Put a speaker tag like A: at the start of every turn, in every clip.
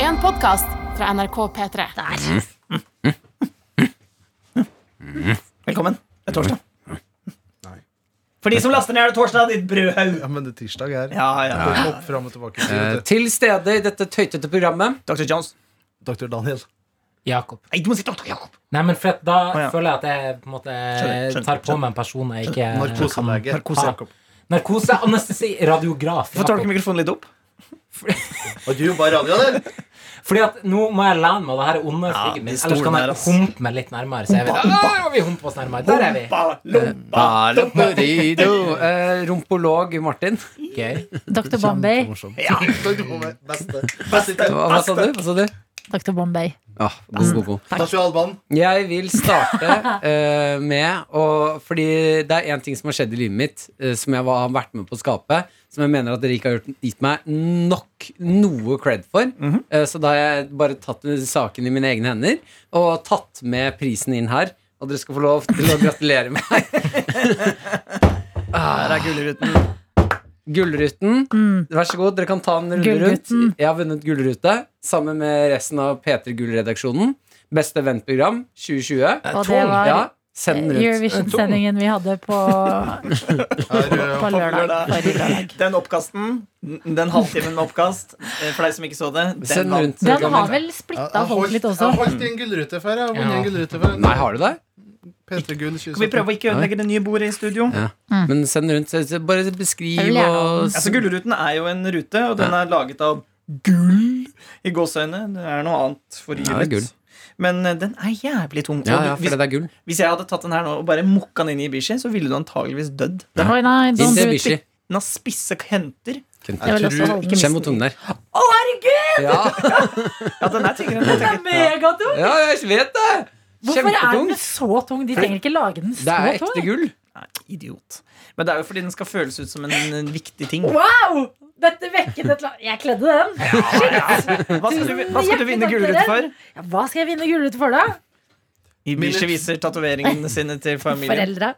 A: en podkast fra NRK P3.
B: Der.
C: Velkommen. Det er torsdag. For de som laster ned, er det torsdag, ditt brødhaug.
D: Ja, men det er tirsdag her.
C: Ja, ja.
D: Gå opp, frem og tilbake.
B: Eh, til stede i dette tøytete programmet
C: Dr. Jones.
D: Dr. Daniel.
E: Jakob.
C: Nei, du må si doktor Jakob.
E: Nei, men for at da
C: Å, ja.
E: føler jeg at jeg på en måte eh,
C: Skjønner, skjønner,
E: tar på
C: skjønner.
E: meg en person jeg ikke
D: Narkoselege.
C: Narkose.
D: Jakob.
E: Narkose, anestesi, radiograf.
C: Hvorfor tar du
E: Jakob.
C: ikke mikrofonen litt opp?
F: Og du var radioen din.
E: Fordi at nå må jeg lene meg av det her onde
C: Ja,
E: styggen
C: men
E: min. Ellers kan
C: stolen er,
E: jeg
C: ass.
E: humpe meg litt nærmere. Så jeg vet, Åh, vi humper oss nærmere. Der er vi.
B: Barabarido. Eh, Rumpolog Martin.
E: Gøy.
B: Dr. Bombay.
F: Beste.
B: Hva, hva sa du? Hva sa du?
G: Dr. Bombay.
B: Ah, god, god, god.
F: Nasjonalbanen.
B: Jeg vil starte eh, med å Fordi det er én ting som har skjedd i livet mitt, eh, som jeg var, har vært med på å skape, som jeg mener at dere ikke har gjort, gitt meg nok noe cred for. Eh, så da har jeg bare tatt saken i mine egne hender og tatt med prisen inn her. Og dere skal få lov til å gratulere meg.
C: Her er Gullruten.
B: Gullruten. Vær så god, dere kan ta en runde rundt.
G: Mm. Gullruten.
B: Jeg har vunnet Gullrute sammen med resten av P3 Gull-redaksjonen. Beste eventprogram 2020.
G: Og det var
B: Ja, send den rundt.
G: Eurovision-sendingen vi hadde på,
D: eh,
G: på lørdag. Forrige lørdag.
C: Den oppkasten, den halvtimen med oppkast, eh, for deg som ikke så det
B: Send
C: var-
B: den rundt.
G: Den har vel splitta folk litt også.
D: Jeg har holdt i en gullrute før. Jeg har vunnet en gullrute før.
B: Nei, har du det?
D: P3 Gull
C: Skal vi
D: 2017.
C: prøve å ikke ødelegge det nye bordet i studio?
G: Mm.
B: Men send den rundt. Så- så Bare beskriv
G: Jeg vil gjerne ha
B: og
G: den.
C: Altså, Gullruten er jo en rute, og den er laget av gull i gåseøyne. Det er noe annet for
B: Ja, det er
C: julet. Men eh, den er jævlig tung.
B: Ja,
C: Og
B: ja,
C: du-
B: for
C: hvis,
B: det er
G: Sånn
B: gull.
C: hvis jeg hadde tatt den her nå og bare mokka den inn i Ibishi, så ville du antageligvis dødd.
G: Oi, nei, don't do it.
B: Indebishi.
C: Den har spisse henter.
G: Jeg vil også holde- ikke
B: Kjenn mot
G: miste den.
B: tungen der.
C: Å, herregud!
B: Ja,
C: Ja, den er tyngre enn jeg tenker.
G: Megatung!
B: ja jeg vet det!
G: Hvorfor er den
B: Kjempetungt.
G: så tung? De trenger ikke lage den
B: Det
G: så
B: er
G: tung.
B: ekte gull.
C: Nei, idiot. Men det er jo fordi den skal føles ut som en, en viktig ting.
G: Wow! Dette vekket et la... Jeg kledde den.
C: Hva skal du, hva skal du vinne Gullruten for?
G: Ja, hva skal jeg vinne gullrute for, da?
C: Ibishi viser tatoveringene sine til familien.
G: Foreldra.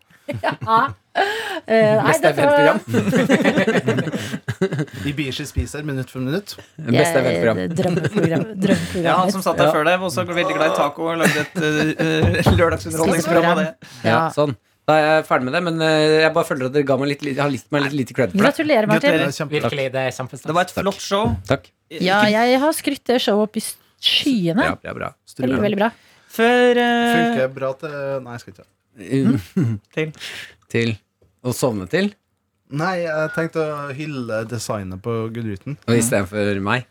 G: Ja. Eh, nei,
B: Beste
G: dette var-
B: eventprogram.
D: Ibishi spiser minutt for minutt.
B: Beste
G: Jeg-
B: eventprogram.
G: Drømmeprogram. Drømmeprogram.
C: Ja, altså, Han som satt der
B: Ja.
C: før deg, var også veldig glad i taco og lagde et eh, lørdagsunderholdningsprogram av det.
B: Ja,
G: Ja.
B: sånn. Da er jeg ferdig med det, men eh, jeg bare føler at dere ga meg litt, li- har gitt meg litt lite cred for det.
G: Gratulerer,
D: Det
G: Martin.
C: Gratulerer.
D: er kjempe...
E: Virkelig, det er kjempestas.
C: Det var et flott show.
B: Takk.
G: Ja, jeg har skrytt det showet opp i skyene.
B: Bra, bra, bra.
G: Veldig, veldig bra.
C: Før eh,
D: Funker bra til Nei, jeg skal ikke
C: Til.
B: Mm. Til å sovne til,
D: Nei, jeg tenkte å hylle designet på gullruten.
B: og istedenfor meg.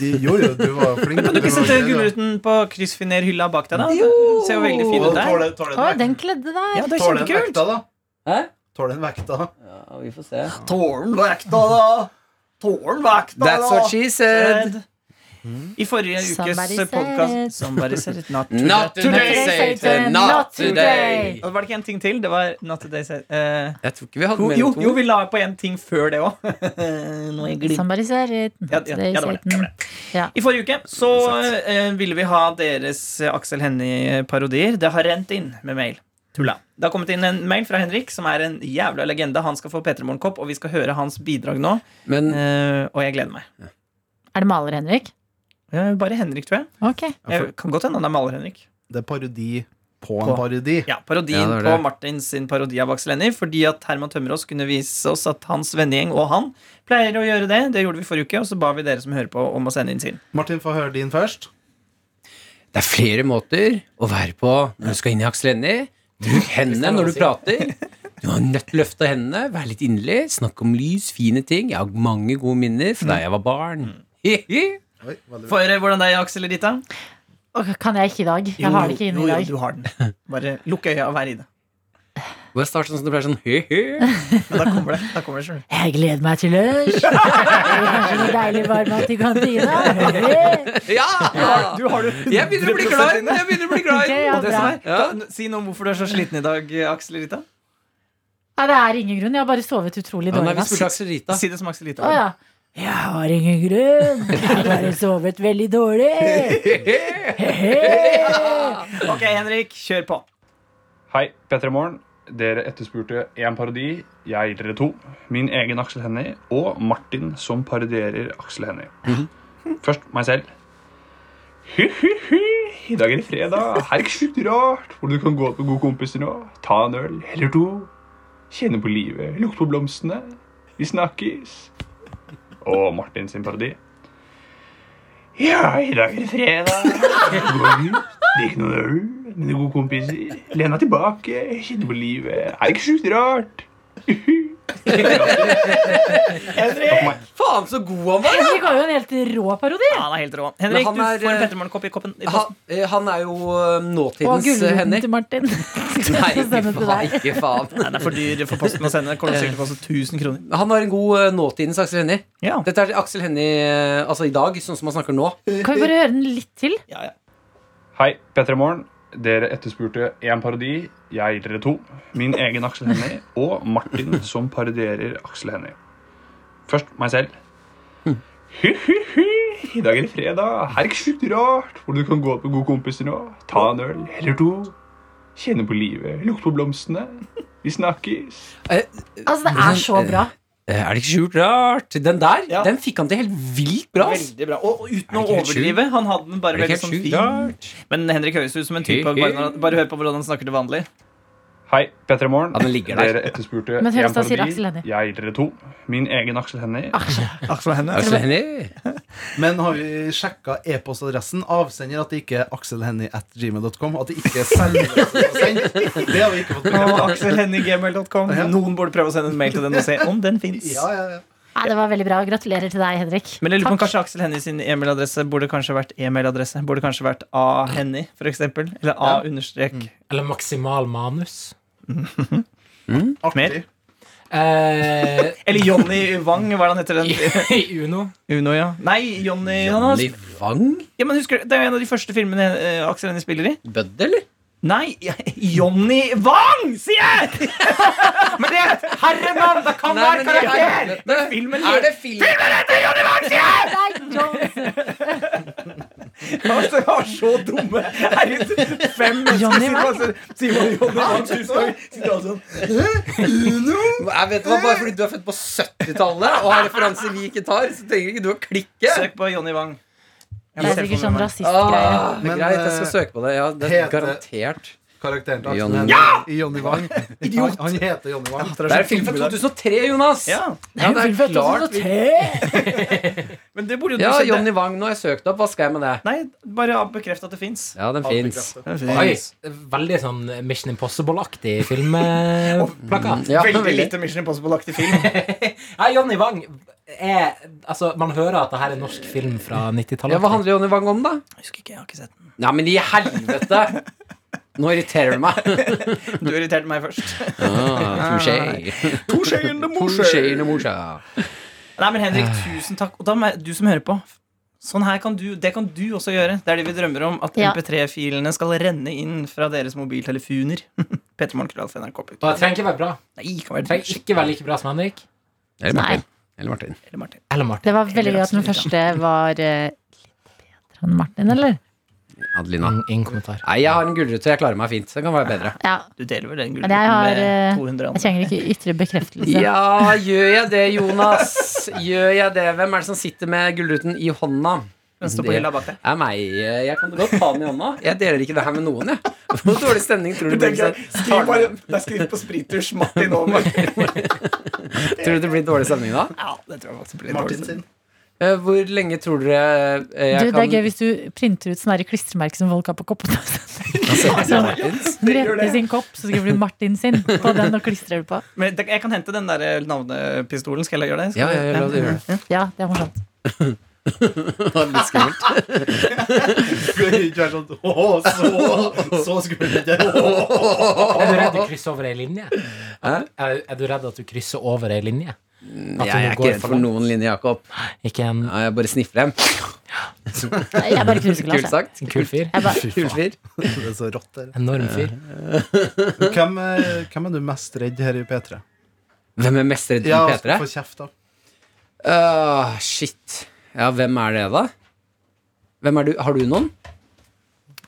D: Jo, jo, du var flink.
C: Kan du ikke sette Gullruten på kryssfinerhylla bak deg, da? Det ser jo veldig fin ut der.
G: Å, den kledde deg.
C: Ja, det er
D: Tåler den
C: kjempekult.
D: vekta, da?
B: Hæ?
D: Tåler den vekta?
B: Ja, vi får se.
C: Tårn vekta, da! Tårn vekta,
B: That's what she said.
C: I forrige
G: Somebody
C: ukes
G: said.
C: podkast Somebody said it, not today.
B: Not today, Satan. Not today.
C: Og det var det ikke en ting til? Det var Not Today said eh,
B: Jeg tror ikke vi hadde
C: jo,
B: mer
C: jo,
B: enn to.
C: jo, vi la på en ting før det òg. Nå er jeg glipp.
G: Somebody said it.
C: Ja, ja, ja, det var det, det var
G: Ja.
C: I forrige uke så eh, ville vi ha deres eh, Aksel Hennie-parodier. Det har rent inn med mail. Tulla. Det har kommet inn en mail fra Henrik, som er en jævla legende. Han skal få P3 Morgenkopp, og vi skal høre hans bidrag nå.
B: Men
C: Eh, og jeg gleder meg.
G: Er det maler, Henrik?
C: Eh, bare Henrik, tror jeg.
G: Ok.
D: Ja, for-
C: jeg kan godt hende han er maler, Henrik.
D: Det er parodi på
C: På.
D: en parodi.
C: Ja, Parodien
B: Ja, det
C: på
B: var det.
C: Martins sin parodi av Aksel Hennie. Fordi at Herman Tømmerås kunne vise oss at hans vennegjeng og han pleier å gjøre det. Det gjorde vi forrige uke, og så ba vi dere som hører på, om å sende inn sin.
D: Martin, få høre din først.
B: det er flere måter å være på når du skal inn i Aksel Hennie. Bruk hendene når du prater. Du har nødt til å løfte hendene, være litt inderlig, snakke om lys, fine ting. Jeg har mange gode minner fra da jeg var barn. Hihi.
D: Oi, veldig bra.
C: Får høre hvordan det er, Aksel og Rita?
G: Åh, Kan jeg ikke i dag? Jeg har det ikke inne i dag.
C: du har den. Bare lukk øya og vær i det.
B: Bare start sånn som det pleier sånn. Hihi.
C: Men da kommer det. Da kommer det selv.
G: Jeg gleder meg til lunsj! Det blir kanskje noe deilig varmmat i kantina.
B: Ja!
C: Du har det.
B: Jeg begynner å bli glad. i den, Jeg begynner å bli glad. i
G: Ok,
B: den.
G: ja,
C: Og det som
G: bra.
C: er, da, si noe om hvorfor du er så sliten i dag, Aksel og Rita.
G: Nei, det er ingen grunn. Jeg har bare sovet utrolig
B: Ja, nei,
G: dårlig.
B: vi
G: ass.
B: spurte Aksel Rita.
C: Si det som Aksel og Rita.
G: Å ja. Jeg har ingen grunn. Jeg har bare sovet veldig dårlig.
C: Ok, Henrik, kjør på.
H: Hei, P3 Morgen. Dere etterspurte én parodi. Jeg gir dere to. Min egen Aksel Hennie og Martin som parodierer Aksel Hennie. Først meg selv. I dag er det fredag. Her er ikke slutt rart. Hvor du kan gå på gode kompiser nå. Ta en øl eller to. Kjenne på livet. Lukte på blomstene. Vi snakkes. Og Martin sin parodi. Ja, i dag er det fredag. Gå ut, drikk noen øl med de gode kompiser. Len deg tilbake, kjenne på livet. Er det ikke sjukt rart? Henrik!
B: Faen, så god han var!
G: Henrik har jo en helt rå parodi.
C: Ja, han er helt rå. Henrik,
B: han
C: du
B: er,
C: får en
B: eh,
C: Petremorgen-kopp i koppen. I
B: Han,
C: posten.
B: eh, han er jo eh,
G: Og
B: nåtidens eh,
G: gullruten
B: Henrik.
G: til Martin.
B: Nei, ikke
G: Stemmer på
B: faen.
G: deg.
B: Ikke faen.
C: Nei, det er for dyr for posten å sende. Det kommer sikkert til å koste 1000 kroner.
B: Han var en god eh, nåtidens Aksel Hennie.
C: Ja.
B: Dette er Aksel Hennie eh, altså i dag, sånn som han snakker nå.
G: Kan vi bare høre den litt til?
C: Ja, ja.
H: Hei, P3 Morgen. Dere etterspurte én parodi. Jeg gir dere to. Min egen Aksel Hennie og Martin som parodierer Aksel Hennie. Først meg selv. Hu-hu-hu, I dag er det fredag. Her er ikke slutt rart. Hvor du kan gå på gode kompiser nå. Ta en øl eller to. Kjenne på livet. Lukte på blomstene. Vi snakkes.
G: Altså, det er så bra.
B: Eh, Er det ikke skjult rart? Den der
C: Ja.
B: den fikk han til helt vilt bra. ass.
C: Veldig bra. Og, og uten å
B: Er det ikke helt
C: overdrive. Han hadde den bare
B: Er det
C: veldig
B: ikke
C: sånn
B: helt sjukt
C: fin.
B: rart?
C: Men Henrik høres ut som en type.
B: Hei, hei.
C: Bare, bare hør på hvordan han snakker til vanlig.
H: Hei, P3 Morgen.
B: Ja, den ligger der.
H: Dere etterspurte
G: Men
H: én
G: høres da sier
H: parodi.
G: Aksel Hennie.
H: Jeg gir dere to. Min egen Aksel Hennie.
D: Aksel Hennie.
B: Aksel Hennie.
F: Men har vi sjekka e-postadressen? Avsender at det ikke er akselhenny.gmail.com? At det ikke er selvløst å sende? Det har vi ikke fått
C: Og
F: bekreftet.
C: akselhenniggmail.com. Noen burde prøve å sende en mail til den og se om den fins.
F: Ja, ja, ja.
G: Nei, det var veldig bra. Gratulerer til deg, Henrik.
C: Men jeg lurer på om
G: Takk.
C: kanskje Aksel Hennie sin e-mailadresse burde kanskje vært e-mailadresse. Burde kanskje vært A. Hennie, for eksempel. Eller A understrek.
E: Eller maksimal manus.
C: Mer?
F: Artig.
E: Eh,
C: Eller Jonny Wang, hva er det han heter? Den?
E: I Uno.
C: Uno, ja. Nei, Jonny han har-
B: Johnny Wang?
C: ja, men husker, du, Det er jo en av de første filmene eh, Aksel Hennie spiller i.
B: Bødd, eller?
C: Nei, Jonny Wang, sier jeg! men det er Herremann! Det kan være karakter! filmen
B: Er det film?
C: Altså, jeg var så dumme. Herregud, fem
G: Johnny
C: mennesker
G: Wang.
C: sitter og- Simon Johnny Wang tusen ganger. Sitter alle sånn
B: Jeg vet hva, Bare fordi du er født på 70-tallet og har referanser vi ikke tar, så trenger ikke du å klikke.
C: Søk på Johnny Wang. Jeg
G: Det
C: må
G: er
C: se
G: sikkert
C: for meg.
G: sånn rasistgreie.
B: Ah,
F: Men,
B: greit, jeg skal
F: eh,
B: søke på det. Ja, det er
F: heter-
B: garantert.
F: Karakteren til
B: Johnny-
F: Aksel Hennie i Johnny Wang. Han, han heter Johnny Wang.
B: Det er en film fra 2003, Jonas!
C: Ja,
B: sånn Ja, det er klart. vi-
C: men det burde jo du
B: Ja,
C: sett.
B: Johnny Wang, nå har jeg søkt opp. Hva skal jeg med det?
C: Nei, bare bekreft at det fins.
B: Ja, den fins.
E: Oi, veldig sånn Mission Impossible-aktig filmplakat.
B: Mm, Ja,
C: Veldig
B: veldig.
C: lite Mission Impossible-aktig film.
E: Ja, Johnny Wang er Altså, man hører at det her er norsk film fra
B: Ja,
E: 90-tallet.
B: hva handler Johnny Wang om, da?
C: Jeg husker ikke, jeg har ikke sett den.
B: Nei, men i helvete! Nå irriterer du meg.
C: Du irriterte meg først.
B: Ah, touché. Touché in the morsa.
C: Nei, men Henrik, tusen takk. Og da må jeg- du som hører på. Sånn her kan du, Det kan du også gjøre. Det er det vi drømmer om. At
G: Ja.
C: MP3-filene skal renne inn fra deres mobiltelefoner. Pettermorgen.nrk.
E: Og det trenger ikke være bra.
C: Nei, kan være
E: Det trenger ikke være like bra som Henrik.
B: Eller
G: Nei.
B: Martin. Eller Martin.
C: Eller Martin.
E: Eller Martin.
G: Det var veldig gøy at den første var eh, litt bedre enn Martin, eller?
B: Adelina.
E: Ingen kommentar.
B: Nei, jeg har en gulrøtt, så jeg klarer meg fint. Den kan være bedre.
G: Ja.
C: Du deler vel den
G: Men
C: gullruten
G: jeg har eh,
C: med 200
G: Jeg
C: andre?
G: trenger ikke ytre bekreftelse.
B: Ja, gjør jeg det, Jonas? Gjør jeg det? Hvem er det som sitter med Gullruten i hånda?
C: Den står på
B: Det-
C: hylla bak deg.
B: er meg. eh, Jeg kan godt ta den i hånda. Jeg deler ikke det her med noen, jeg. Hvor dårlig stemning tror du det blir?
C: Skriv bare, det er skrevet på sprittusj Martin over.
B: Tror du det blir dårlig stemning da?
C: Ja, det tror jeg faktisk blir
F: Martin
C: dårlig.
F: sin.
B: Eh, Hvor lenge tror dere eh,
G: Du,
B: jeg
G: det er gøy hvis du printer ut sånne her klistremerker som folk har på koppene.
B: hvis
G: Grete sin kopp, så skriver du Martin sin på den og klistrer du på.
C: Men det- jeg kan hente den der eh, navnepistolen. Skal jeg gjøre det? Skal
B: Ja, ja, ja, la det gjøre det.
G: Ja, det er morsomt.
B: Litt skummelt.
F: Skulle ikke være sånn Å, så, så skummelt. Åh.
E: Er du redd du krysser over ei linje?
B: Hæ?
E: At, er, er du redd at du krysser over ei linje? At
B: Jeg er
E: du
B: ikke
E: går
B: redd for noen linje, Jakob.
E: Ikke en
B: Ja, Jeg bare sniffer dem.
G: Nei, Jeg er bare
B: Kult
G: kruseglass. jeg.
B: sagt.
E: en kul fyr?
G: Jeg bare-
E: Fy
B: Kul
E: faen.
B: fyr.
F: Det er så rått her.
E: Enorm fyr.
F: Hvem, eh, hvem er du mest redd her i P3?
B: Hvem er mest redd
F: Ja,
B: altså,
F: altså,
B: for P3?
F: få kjeft, da.
B: Ah, shit. Ja, hvem er det, da? Hvem er du? Har du noen?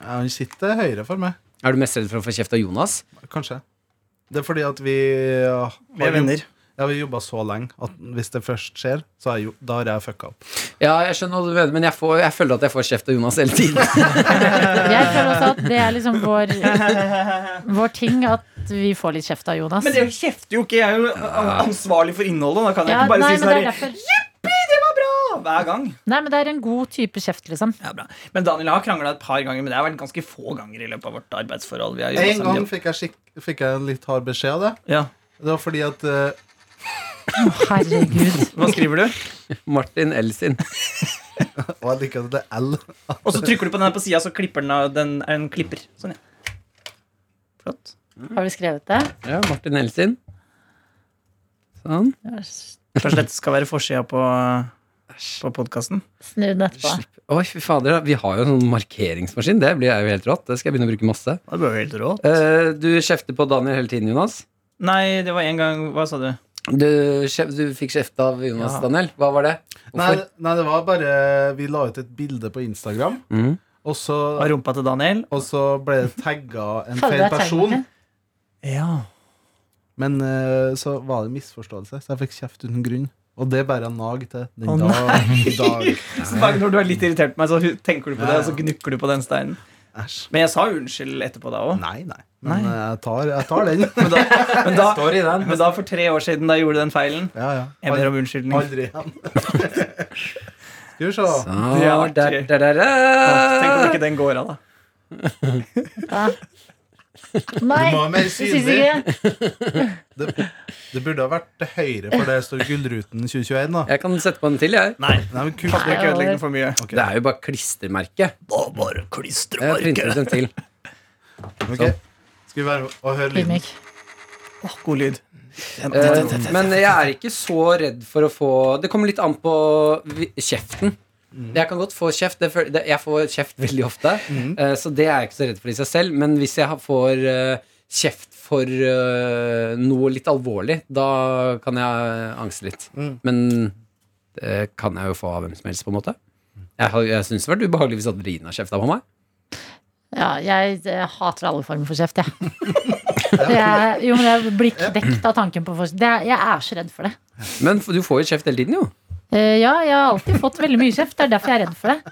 F: Ja, Han sitter høyre for meg.
B: Er du mest redd for å få kjeft av Jonas?
F: Kanskje. Det er fordi at vi eh, har
C: Vi er venner.
F: Jeg har jobba så lenge at hvis det først skjer, så er jo, da har jeg fucka opp.
B: Ja, jeg skjønner hva du mener, men jeg, får, jeg føler at jeg får kjeft av Jonas hele tiden.
G: Jeg føler også at det er liksom vår, vår ting at vi får litt kjeft av Jonas.
C: Men det kjefter jo ikke. Jeg er jo ansvarlig for innholdet. Da kan jeg
G: Ja,
C: ikke bare
G: nei,
C: si
G: men det
C: sånn
G: er
C: her,
G: derfor.
C: Jippi, det var bra! Hver gang.
G: Nei, men det er en god type kjeft, liksom.
C: Ja, bra. Men Daniel har krangla et par ganger, men det har vært ganske få ganger i løpet av vårt arbeidsforhold. Vi har jobbet
F: En
C: sammen.
F: gang fikk jeg, skikk- fikk jeg en litt hard beskjed av det.
C: Ja.
F: Det var fordi at eh,
G: Herregud.
C: Hva skriver du?
B: Martin L. sin.
F: Og jeg liker at det er L.
C: Og så trykker du på den her på sida, så klipper den av den er en klipper. Sånn, ja. Flott.
G: Har du skrevet det?
B: Ja, Martin L. sin. Sånn.
C: Kanskje dette skal være forsida på, på podkasten?
G: Snu den etterpå.
B: Oi, fy fader, vi har jo en sånn markeringsmaskin. Det blir jeg jo helt rått. Det skal jeg begynne å bruke masse.
C: Det blir helt rått.
B: Eh, du kjefter på Daniel hele tiden, Jonas.
C: Nei, det var en gang Hva sa du?
B: Du, kjef- du fikk kjeft av Jonas,
C: Ja.
B: Daniel. Hva var det?
F: Nei,
B: Hvorfor?
F: nei, det var bare Vi la ut et bilde på Instagram,
B: Mhm.
F: og så,
C: Av rumpa til Daniel?
F: og så ble det tagga en
G: Fader,
F: feil
G: det er
F: person.
G: tegnet.
C: Ja.
F: Men eh, så var det en misforståelse, så jeg fikk kjeft uten grunn. Og det bærer jeg nag til den
C: Å,
F: dag i dag.
C: Så bare når du er litt irritert på meg, så hu- tenker du på det, og så gnukker du på den steinen.
F: Æsj.
C: Men jeg sa unnskyld etterpå da òg.
F: Nei, nei. Men eh, jeg tar, jeg tar den.
C: Men, da- men, da-
E: Står i den.
C: men da for tre år siden, da jeg gjorde den feilen
F: Ja, ja.
C: Jeg ber om
F: Aldri-
C: unnskyldning.
F: Aldri igjen. Skal vi se.
B: Ah,
C: Det har vært
B: der,
C: gøy.
B: der, der, der.
C: Tenk om ikke den går av, da.
G: Nei,
F: Du må ha mer
G: jeg syns ikke.
F: Det, det burde ha vært til høyre, for det står Gullruten 2021, da.
B: Jeg kan sette på en til, jeg.
C: Nei.
F: Nei, men kult.
C: Kan ikke ødelegge den for mye.
F: Ok.
B: Det er jo bare klistremerke.
C: Bare
B: Jeg printer ut en til.
F: Ok. Skal vi være og høre lyden?
G: Ydmyk.
C: god lyd.
B: Eh, men jeg er ikke så redd for å få Det kommer litt an på vi- kjeften.
C: Mm.
B: Jeg kan godt få kjeft. Det føl- det, jeg får kjeft veldig ofte,
C: Mm.
B: eh, så det er jeg ikke så redd for i seg selv. Men hvis jeg har- får eh, kjeft for eh, noe litt alvorlig, da kan jeg eh, angste litt.
C: Mm.
B: Men det kan jeg jo få av hvem som helst, på en måte. Jeg, har- jeg syns det hadde vært ubehagelig hvis Adelina kjefta på meg.
G: Ja, jeg eh, hater alle former for kjeft, jeg. Det er, jo, men jeg blir knekt av tanken på forskjell. Det er, jeg er så redd for det.
B: Men f- du får jo kjeft hele tiden, jo.
G: Eh, ja, jeg har alltid fått veldig mye kjeft. Det er derfor jeg er redd for det.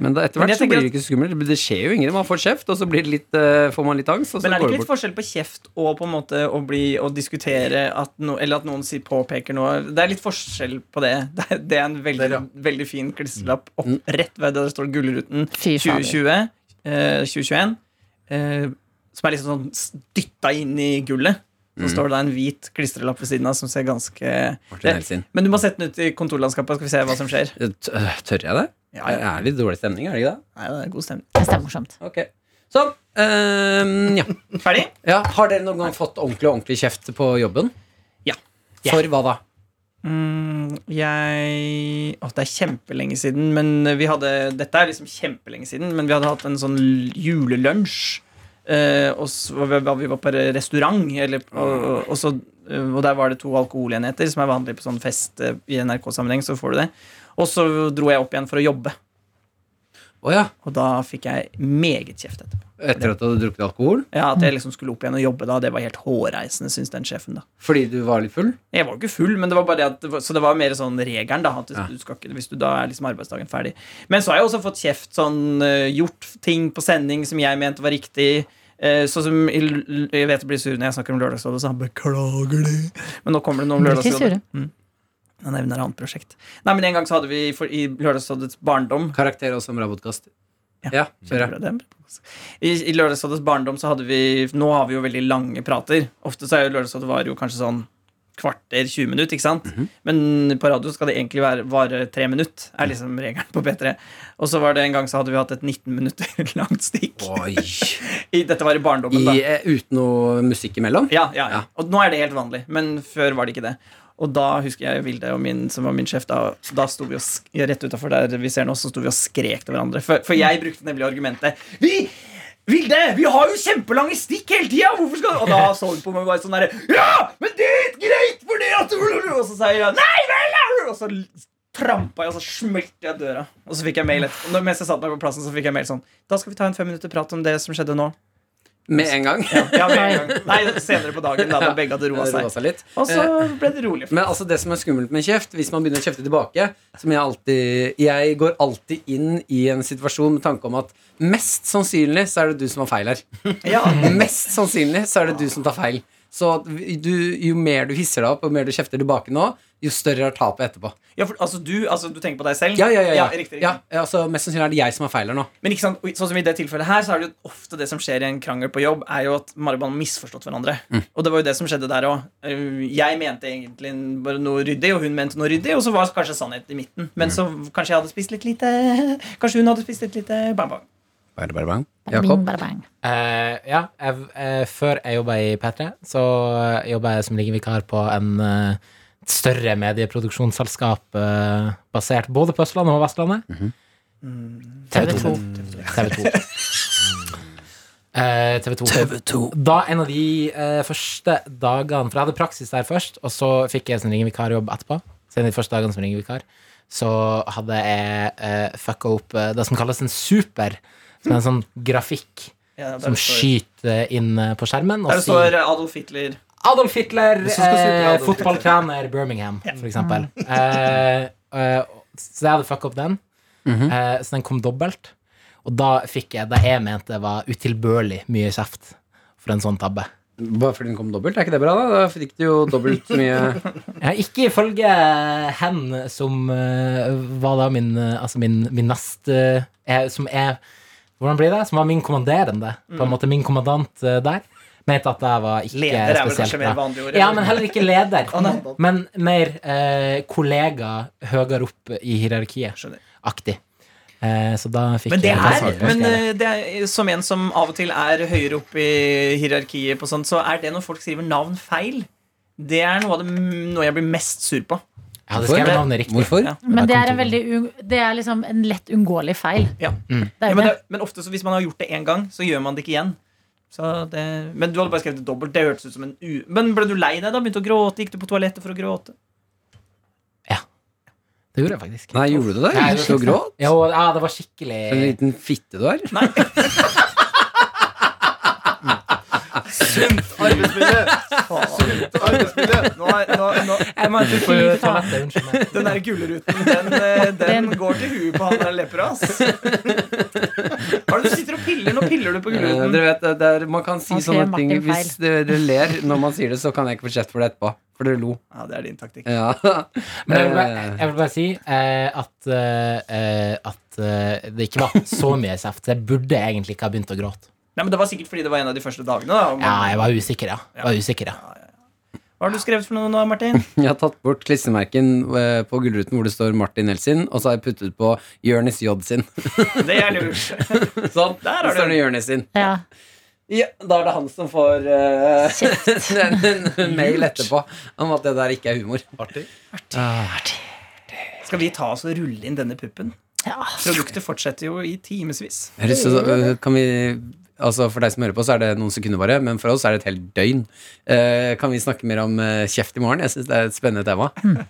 B: Men da, etter
C: Men
B: hvert
C: jeg
B: så
C: tenker
B: blir det ikke så skummelt. Det skjer jo ingenting. Man får kjeft, og så blir det litt, eh, får man litt angst. Og så
C: Men er det
B: går
C: ikke
B: det
C: litt
B: bort.
C: forskjell på kjeft og på en måte å bli å diskutere at no, eller at noen sier påpeker noe? Det er litt forskjell på det. Det er, det er en veldig,
F: Der, ja.
C: veldig fin klistrelapp opp rett ved der det står Gullruten
G: Fy fader.
C: 2020, eh, 2021, eh, som er liksom sånn s- dytta inn i gullet. Så står det da en hvit klistrelapp ved siden av som ser ganske Eh,
B: Martin Helsin.
C: Men du må sette den ut i kontorlandskapet, skal vi se hva som skjer.
B: T- øh, Tør jeg det?
C: Ja, ja.
B: Det er litt dårlig stemning, er det ikke det?
C: Nei, det er god stemning.
G: Jeg synes det er morsomt.
B: Ok. Sånn. Ehm, ja.
C: Ferdig?
B: ja. Har dere noen gang fått ordentlig ordentlig kjeft på jobben?
C: Ja.
B: For hva da?
C: Mm, jeg Å, det er kjempelenge siden, men vi hadde Dette er liksom kjempelenge siden, men vi hadde hatt en sånn l- julelunsj. eh, og så var vi, var vi var på restaurant, eller, og, og, så, eh, og der var det to alkoholenheter, som er vanlig på sånn fest eh, i NRK-sammenheng. Så får du det. Og så dro jeg opp igjen for å jobbe,
B: Å ja.
C: og da fikk jeg meget kjeft etterpå.
B: Etter at du hadde drukket alkohol?
C: Ja, At jeg liksom skulle opp igjen og jobbe da, det var helt hårreisende, syns den sjefen. da
B: Fordi du var litt full?
C: Jeg var jo ikke full, men det var bare det at det var, Så det var mer sånn regelen, da. At du skal ikke, hvis du da er liksom arbeidsdagen ferdig. Men så har jeg også fått kjeft sånn eh, Gjort ting på sending som jeg mente var riktig. eh, sånn som i l- Jeg vet jeg blir sur når jeg snakker om Lørdagsrådet, så han beklager det. Men nå kommer det noe om
G: Blir ikke
C: Lørdagsrådet. Mm. Jeg nevner et annet prosjekt. Nei, men En gang så hadde vi for, i Lørdagsrådets barndom
B: Karakter også med rabotkast.
C: Ja.
B: Ja, kjør
C: Kjempebra,
B: jeg.
C: det er bra. I, I Lørdagsrådets barndom så hadde vi Nå har vi jo veldig lange prater. Ofte så er jo Lørdagsrådet var jo kanskje sånn kvarter, 20 minutter, ikke sant? Men på radio skal det egentlig være, vare tre minutter, er liksom regelen på P3. Og så var det en gang så hadde vi hatt et 19 minutter langt stikk.
B: Oi.
C: I, dette var i barndommen, da.
B: I, eh, uten noe musikk imellom?
C: Ja, ja, ja.
B: Ja.
C: Og nå er det helt vanlig, men før var det ikke det. Og da husker jeg Vilde, og min, som var min sjef, da, da sto vi og sk ja, rett utenfor der vi ser nå, så sto vi og skrek til hverandre. For, for jeg brukte nemlig argumentet Vi, Vilde, vi har jo kjempelange stikk hele tida! Hvorfor skal du Og da så hun på meg bare sånn derre Ja, men det er ikke greit, for det at du-" Og så sa jeg Nei vel! ja." Og så trampa jeg, og så smelte jeg døra. Og så fikk jeg mail etterpå. Mens jeg satt meg på plassen, så fikk jeg mail sånn Da skal vi ta en fem minutter prat om det som skjedde nå.
B: Med en gang.
C: Ja, med en gang. Nei, senere på dagen, da, da begge hadde roa
B: Roa
C: seg.
B: seg litt.
C: Og så ble det rolig.
B: Men altså det som er skummelt med kjeft, hvis man begynner å kjefte tilbake Som jeg alltid Jeg går alltid inn i en situasjon med tanke om at mest sannsynlig så er det du som har feil her.
C: Ja,
B: Mest sannsynlig så er det du som tar feil. Så at du, jo mer du hisser deg opp, og jo mer du kjefter tilbake nå, jo større er tapet etterpå.
C: ja for, altså, du, altså, du tenker på deg selv?
B: Ja, ja, ja, ja.
C: riktig, riktig.
B: ja altså, Mest sannsynlig er det jeg som har feil her nå.
C: Men ikke sant, sånn som i det tilfellet her, så er det jo ofte det som skjer i en krangel på jobb, er jo at Maribel har misforstått hverandre.
B: Mm.
C: Og det var jo det som skjedde der òg. Jeg mente egentlig bare noe ryddig, og hun mente noe ryddig, og så var kanskje sannhet i midten.
B: Mm.
C: Men så kanskje jeg hadde spist litt lite Kanskje hun hadde spist litt lite bang bang.
G: Bada bing,
B: Jakob?
G: bada bang.
E: Eh, ja, jeg, eh, før jeg jobba i P3, så jobba jeg som lingevikar på en eh, et større medieproduksjonsselskap eh, basert både på Østlandet og Vestlandet. Mm. TV 2. TV 2. TV 2. Da en av de eh, første dagene For jeg hadde praksis der først, og så fikk jeg en sånn ringevikarjobb etterpå. Så en av de første dagene som ringevikar Så hadde jeg eh, fucka opp eh, det som kalles en super, som er en sånn grafikk
C: Ja, der
E: som
C: det står-
E: skyter inn eh, på skjermen og
C: Der det
B: altså.
E: sier
C: står Adolf Hitler.
E: Adolf Hitler,
F: skal si til
E: eh,
F: Adolf
E: fotballtrener Birmingham, for eksempel. Eh, eh, så jeg hadde fucka opp den, eh, så den kom dobbelt. Og da fikk jeg det jeg mente var utilbørlig mye kjeft for en sånn tabbe.
B: Bare fordi den kom dobbelt, er ikke det bra? Da Da fikk du jo dobbelt så mye
E: Ja, ikke ifølge hen som eh, var da min eh, Altså min, min neste eh, Som er Hvordan blir det? Som var min kommanderende. På en måte min kommandant eh, der. Mente at jeg var ikke
C: Mm. Leder er vel
E: spesielt
C: kanskje mer
E: bra.
C: vanlig ord.
E: Ja,
C: eller?
E: men heller ikke leder.
C: Å, nei.
E: men mer eh, kollega høyere opp i hierarkiet.
C: Skjønner.
E: Aktig. Eh, så da fikk
C: Men det
E: jeg
C: er, men
E: jeg-
C: eh, det er Som en som av og til er høyere opp i hierarkiet, på sånt, så er det når folk skriver navn feil. Det er noe av det m- noe jeg blir mest sur på.
E: Jeg hadde skrevet navnet riktig.
B: Hvorfor?
C: Ja.
G: Men det er, en veldig, u- det er liksom en lett unngåelig feil.
C: Ja.
G: Det er
C: Ja,
G: jo
C: men,
G: det.
C: det, men ofte så hvis man har gjort det én gang, så gjør man det ikke igjen. Så det, men du hadde bare skrevet det dobbelt. Det hørtes ut som en u... Men ble du lei deg da? Begynte å gråte? Gikk du på toalettet for å gråte?
E: Det gjorde jeg faktisk.
B: Nei, gjorde du det?
E: Nei,
B: Gikk du og gråt?
E: Jo, ja, det var skikkelig
B: En liten fitte du er?
C: Nå er, nå, nå,
E: Jeg må ikke på toalettet, unnskyld meg.
C: den der gulruten, den, eh, den går til huet på han der lepra, ass. Hva er det du sitter og piller? Nå piller du på
B: Eh,
C: gulruten.
B: Dere vet, det det er, Man kan si
G: Man skrev
B: sånne ting
G: Martin feil.
B: hvis dere dere ler når man sier det, så kan jeg ikke få kjeft for det etterpå. For dere lo.
C: Ja, det er din taktikk.
B: Ja.
E: Men jeg vil bare,
B: Eh,
E: jeg vil bare si eh, at, eh, at eh, det ikke var så mye kjeft. så Jeg burde egentlig ikke ha begynt å gråte.
C: Nei, men Det var sikkert fordi det var en av de første dagene. da og
E: Ja,
C: man-
E: jeg var usikker, ja. Jeg Var usikker, ja.
C: Hva har du skrevet for noe nå, Martin?
B: Jeg har tatt bort klistremerken eh, på gullruten hvor det står Martin L sin, og så har jeg puttet på Jonis J sin.
C: Det er lurt.
B: Sånn.
C: Der
B: Der
C: har
B: står
C: du
B: det Jonis sin.
G: Ja.
B: Ja, da er det han som får eh, en, en mail etterpå om at det der ikke er humor.
C: Skal vi ta oss og rulle inn denne puppen?
G: Ja.
C: Produktet fortsetter jo i timevis.
B: Jeg har lyst til å- øh, kan vi, altså For deg som hører på, så er det noen sekunder bare, men for oss er det et helt døgn. Eh, kan vi snakke mer om eh, kjeft i morgen? Jeg syns det er et spennende tema.
C: Men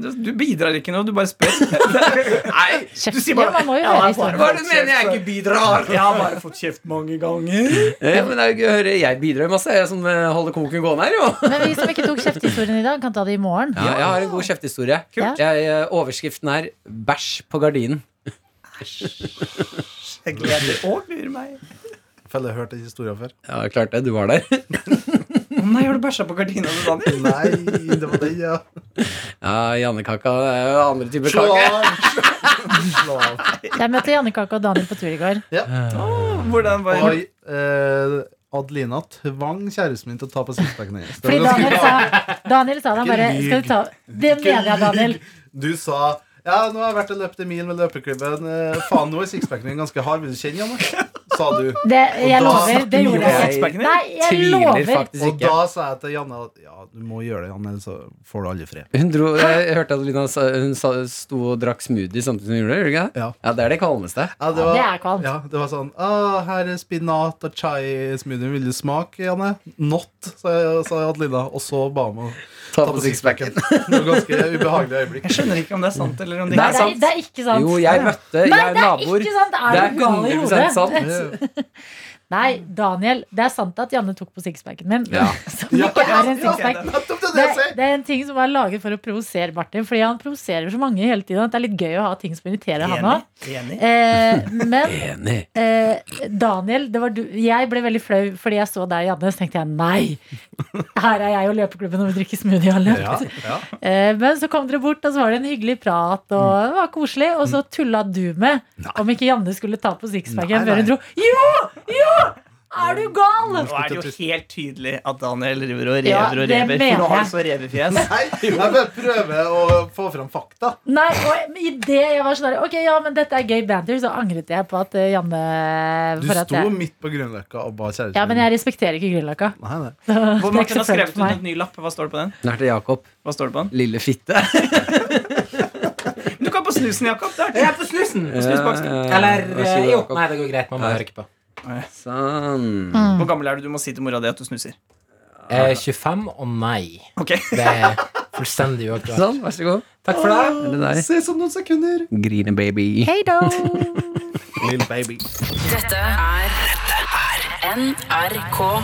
C: Du, du bidrar ikke noe, du bare spør. Nei,
G: Kjeft. Ja, man må jo være historien.
B: Hva er det du mener jeg ikke bidrar?
C: Jeg har bare fått kjeft mange ganger.
B: Eh, men det er jo gøy å høre. Jeg bidrar jo masse, jeg som eh, holder koken gående her, jo.
G: Men vi som ikke tok kjefthistorien i dag, kan ta det i morgen.
B: Ja, jeg har en god kjeftehistorie.
G: Kult.
B: Jeg, eh, overskriften er 'Bæsj på gardinen'.
C: Jeg gleder og lurer meg.
F: Felle har hørt den historien før.
B: Ja, klart det. Du var der.
C: Å nei, har du bæsja på gardina til Daniel?
F: Nei, det var den, ja.
B: Ja, Janne-kaka er jo andre typer
F: Slå
B: kake.
F: av! Slå av.
G: Jeg møtte Janne Kake og Daniel på tur i går.
C: Hvordan var
F: Oi, eh, Adelina tvang kjæresten min til å ta på sixpacken hennes. Det
G: Fordi
F: var ganske
G: Daniel
F: bra.
G: sa, Daniel sa da bare
F: lyg.
G: Skal du ta Det
F: Ikke
G: mener jeg, Daniel.
F: lyg. Du sa ja, nå har jeg vært og løpt en mil med løpeklubben. Eh, Faen, nå er sixpacken din ganske hard. Vil du kjenne, Janne? Sa du.
G: Det,
F: Og da
G: jeg lover. Det gjorde jeg.
C: sixpacken din?
G: Nei, jeg
B: Tviler
G: lover.
B: faktisk
F: Og
B: ikke.
F: da sa jeg til Janne at ja, du må gjøre det, Janne, ellers så får du aldri fred.
B: Hun dro, jeg hørte at Lina sa, hun sa, sto og drakk smoothie samtidig som hun gjorde det. gjorde hun ikke det?
F: Ja.
B: ja, Det er det kvalmeste.
F: Ja, det,
G: det er kvalmt.
F: Ja, det var sånn ah, Her er spinat og chai-smoothie. Vil du smake, Janne? Not, sa, jeg- sa Adelina. Og så ba hun om å
B: Ta
F: ta
B: på
F: på
B: sixpacken.
F: sixpacken. Det var ganske ubehagelig øyeblikk.
C: Jeg skjønner ikke om det er sant eller om det
G: Nei,
C: ikke er
G: det er,
C: sant.
G: det er ikke sant.
B: Jo, jeg møtte
G: Nei,
B: jeg er
G: det er
B: naboer.
G: ikke sant. Er
B: Det
G: du gal i
B: 100%
G: hodet?
B: sant.
F: Det
G: Nei, Daniel, det er sant at Janne tok på sixpacken min.
B: Ja.
G: Som ikke er en sixpack.
F: Nettopp det, er det
G: Det,
F: jeg sier!
G: det er en ting som er laget for å provosere Martin, fordi han provoserer så mange hele tiden at det er litt gøy å ha ting som irriterer han òg.
C: Enig.
G: Eh, men
B: Enig.
G: eh, Daniel, det var du, jeg ble veldig flau fordi jeg så deg, Janne, så tenkte jeg nei. Her er jeg og løpeklubben og vi drikker smoothie og løp.
F: Ja, ja.
G: Eh, men så kom dere bort, og så var det en hyggelig prat, og det var koselig. Og så tulla du med om ikke Janne skulle ta på
F: Nei,
G: sixpacken før hun
F: nei.
G: dro. Jo! Jo! Er du gal?
C: Nå er det jo helt tydelig at Daniel driver og rever
G: Ja,
C: og
G: det
C: rever.
G: mener
C: For nå har han
G: jeg.
C: så revefjes.
F: Nei, jeg bare prøver å få fram fakta.
G: Nei, og idet jeg var sånn der, Ok, ja, men dette er gøy banter, så angret jeg på at eh, Janne
F: Du
G: for at
F: sto
G: jeg,
F: midt på Grünerløkka og ba kjæresten
G: Ja, men jeg respekterer ikke Grünerløkka.
F: Nei, nei.
G: Hvor
C: Martin har skrevet ut en ny lapp. Hva står det på den?
B: Den er til Jakob.
C: Hva står det på den?
B: Lille fitte.
C: Du kan på snusen, Jakob. Det er
E: Jeg er på snusen!
B: Ja, ja.
E: Eller
B: Vær så god,
E: eh, jo.
B: Jakob.
E: Nei, det går greit. Man må bare rykke på.
B: Sånn.
C: Hvor gammel er du? Du må si til mora di at du snuser.
E: Eh, 25 og nei.
C: Ok,
E: Det er fullstendig uaktuelt.
B: sånn, vær så god.
E: Takk for det.
B: Er det deg?
F: Ses om noen sekunder.
B: Grine baby.
G: Hei da!
F: Little baby.
I: Dette er NRK.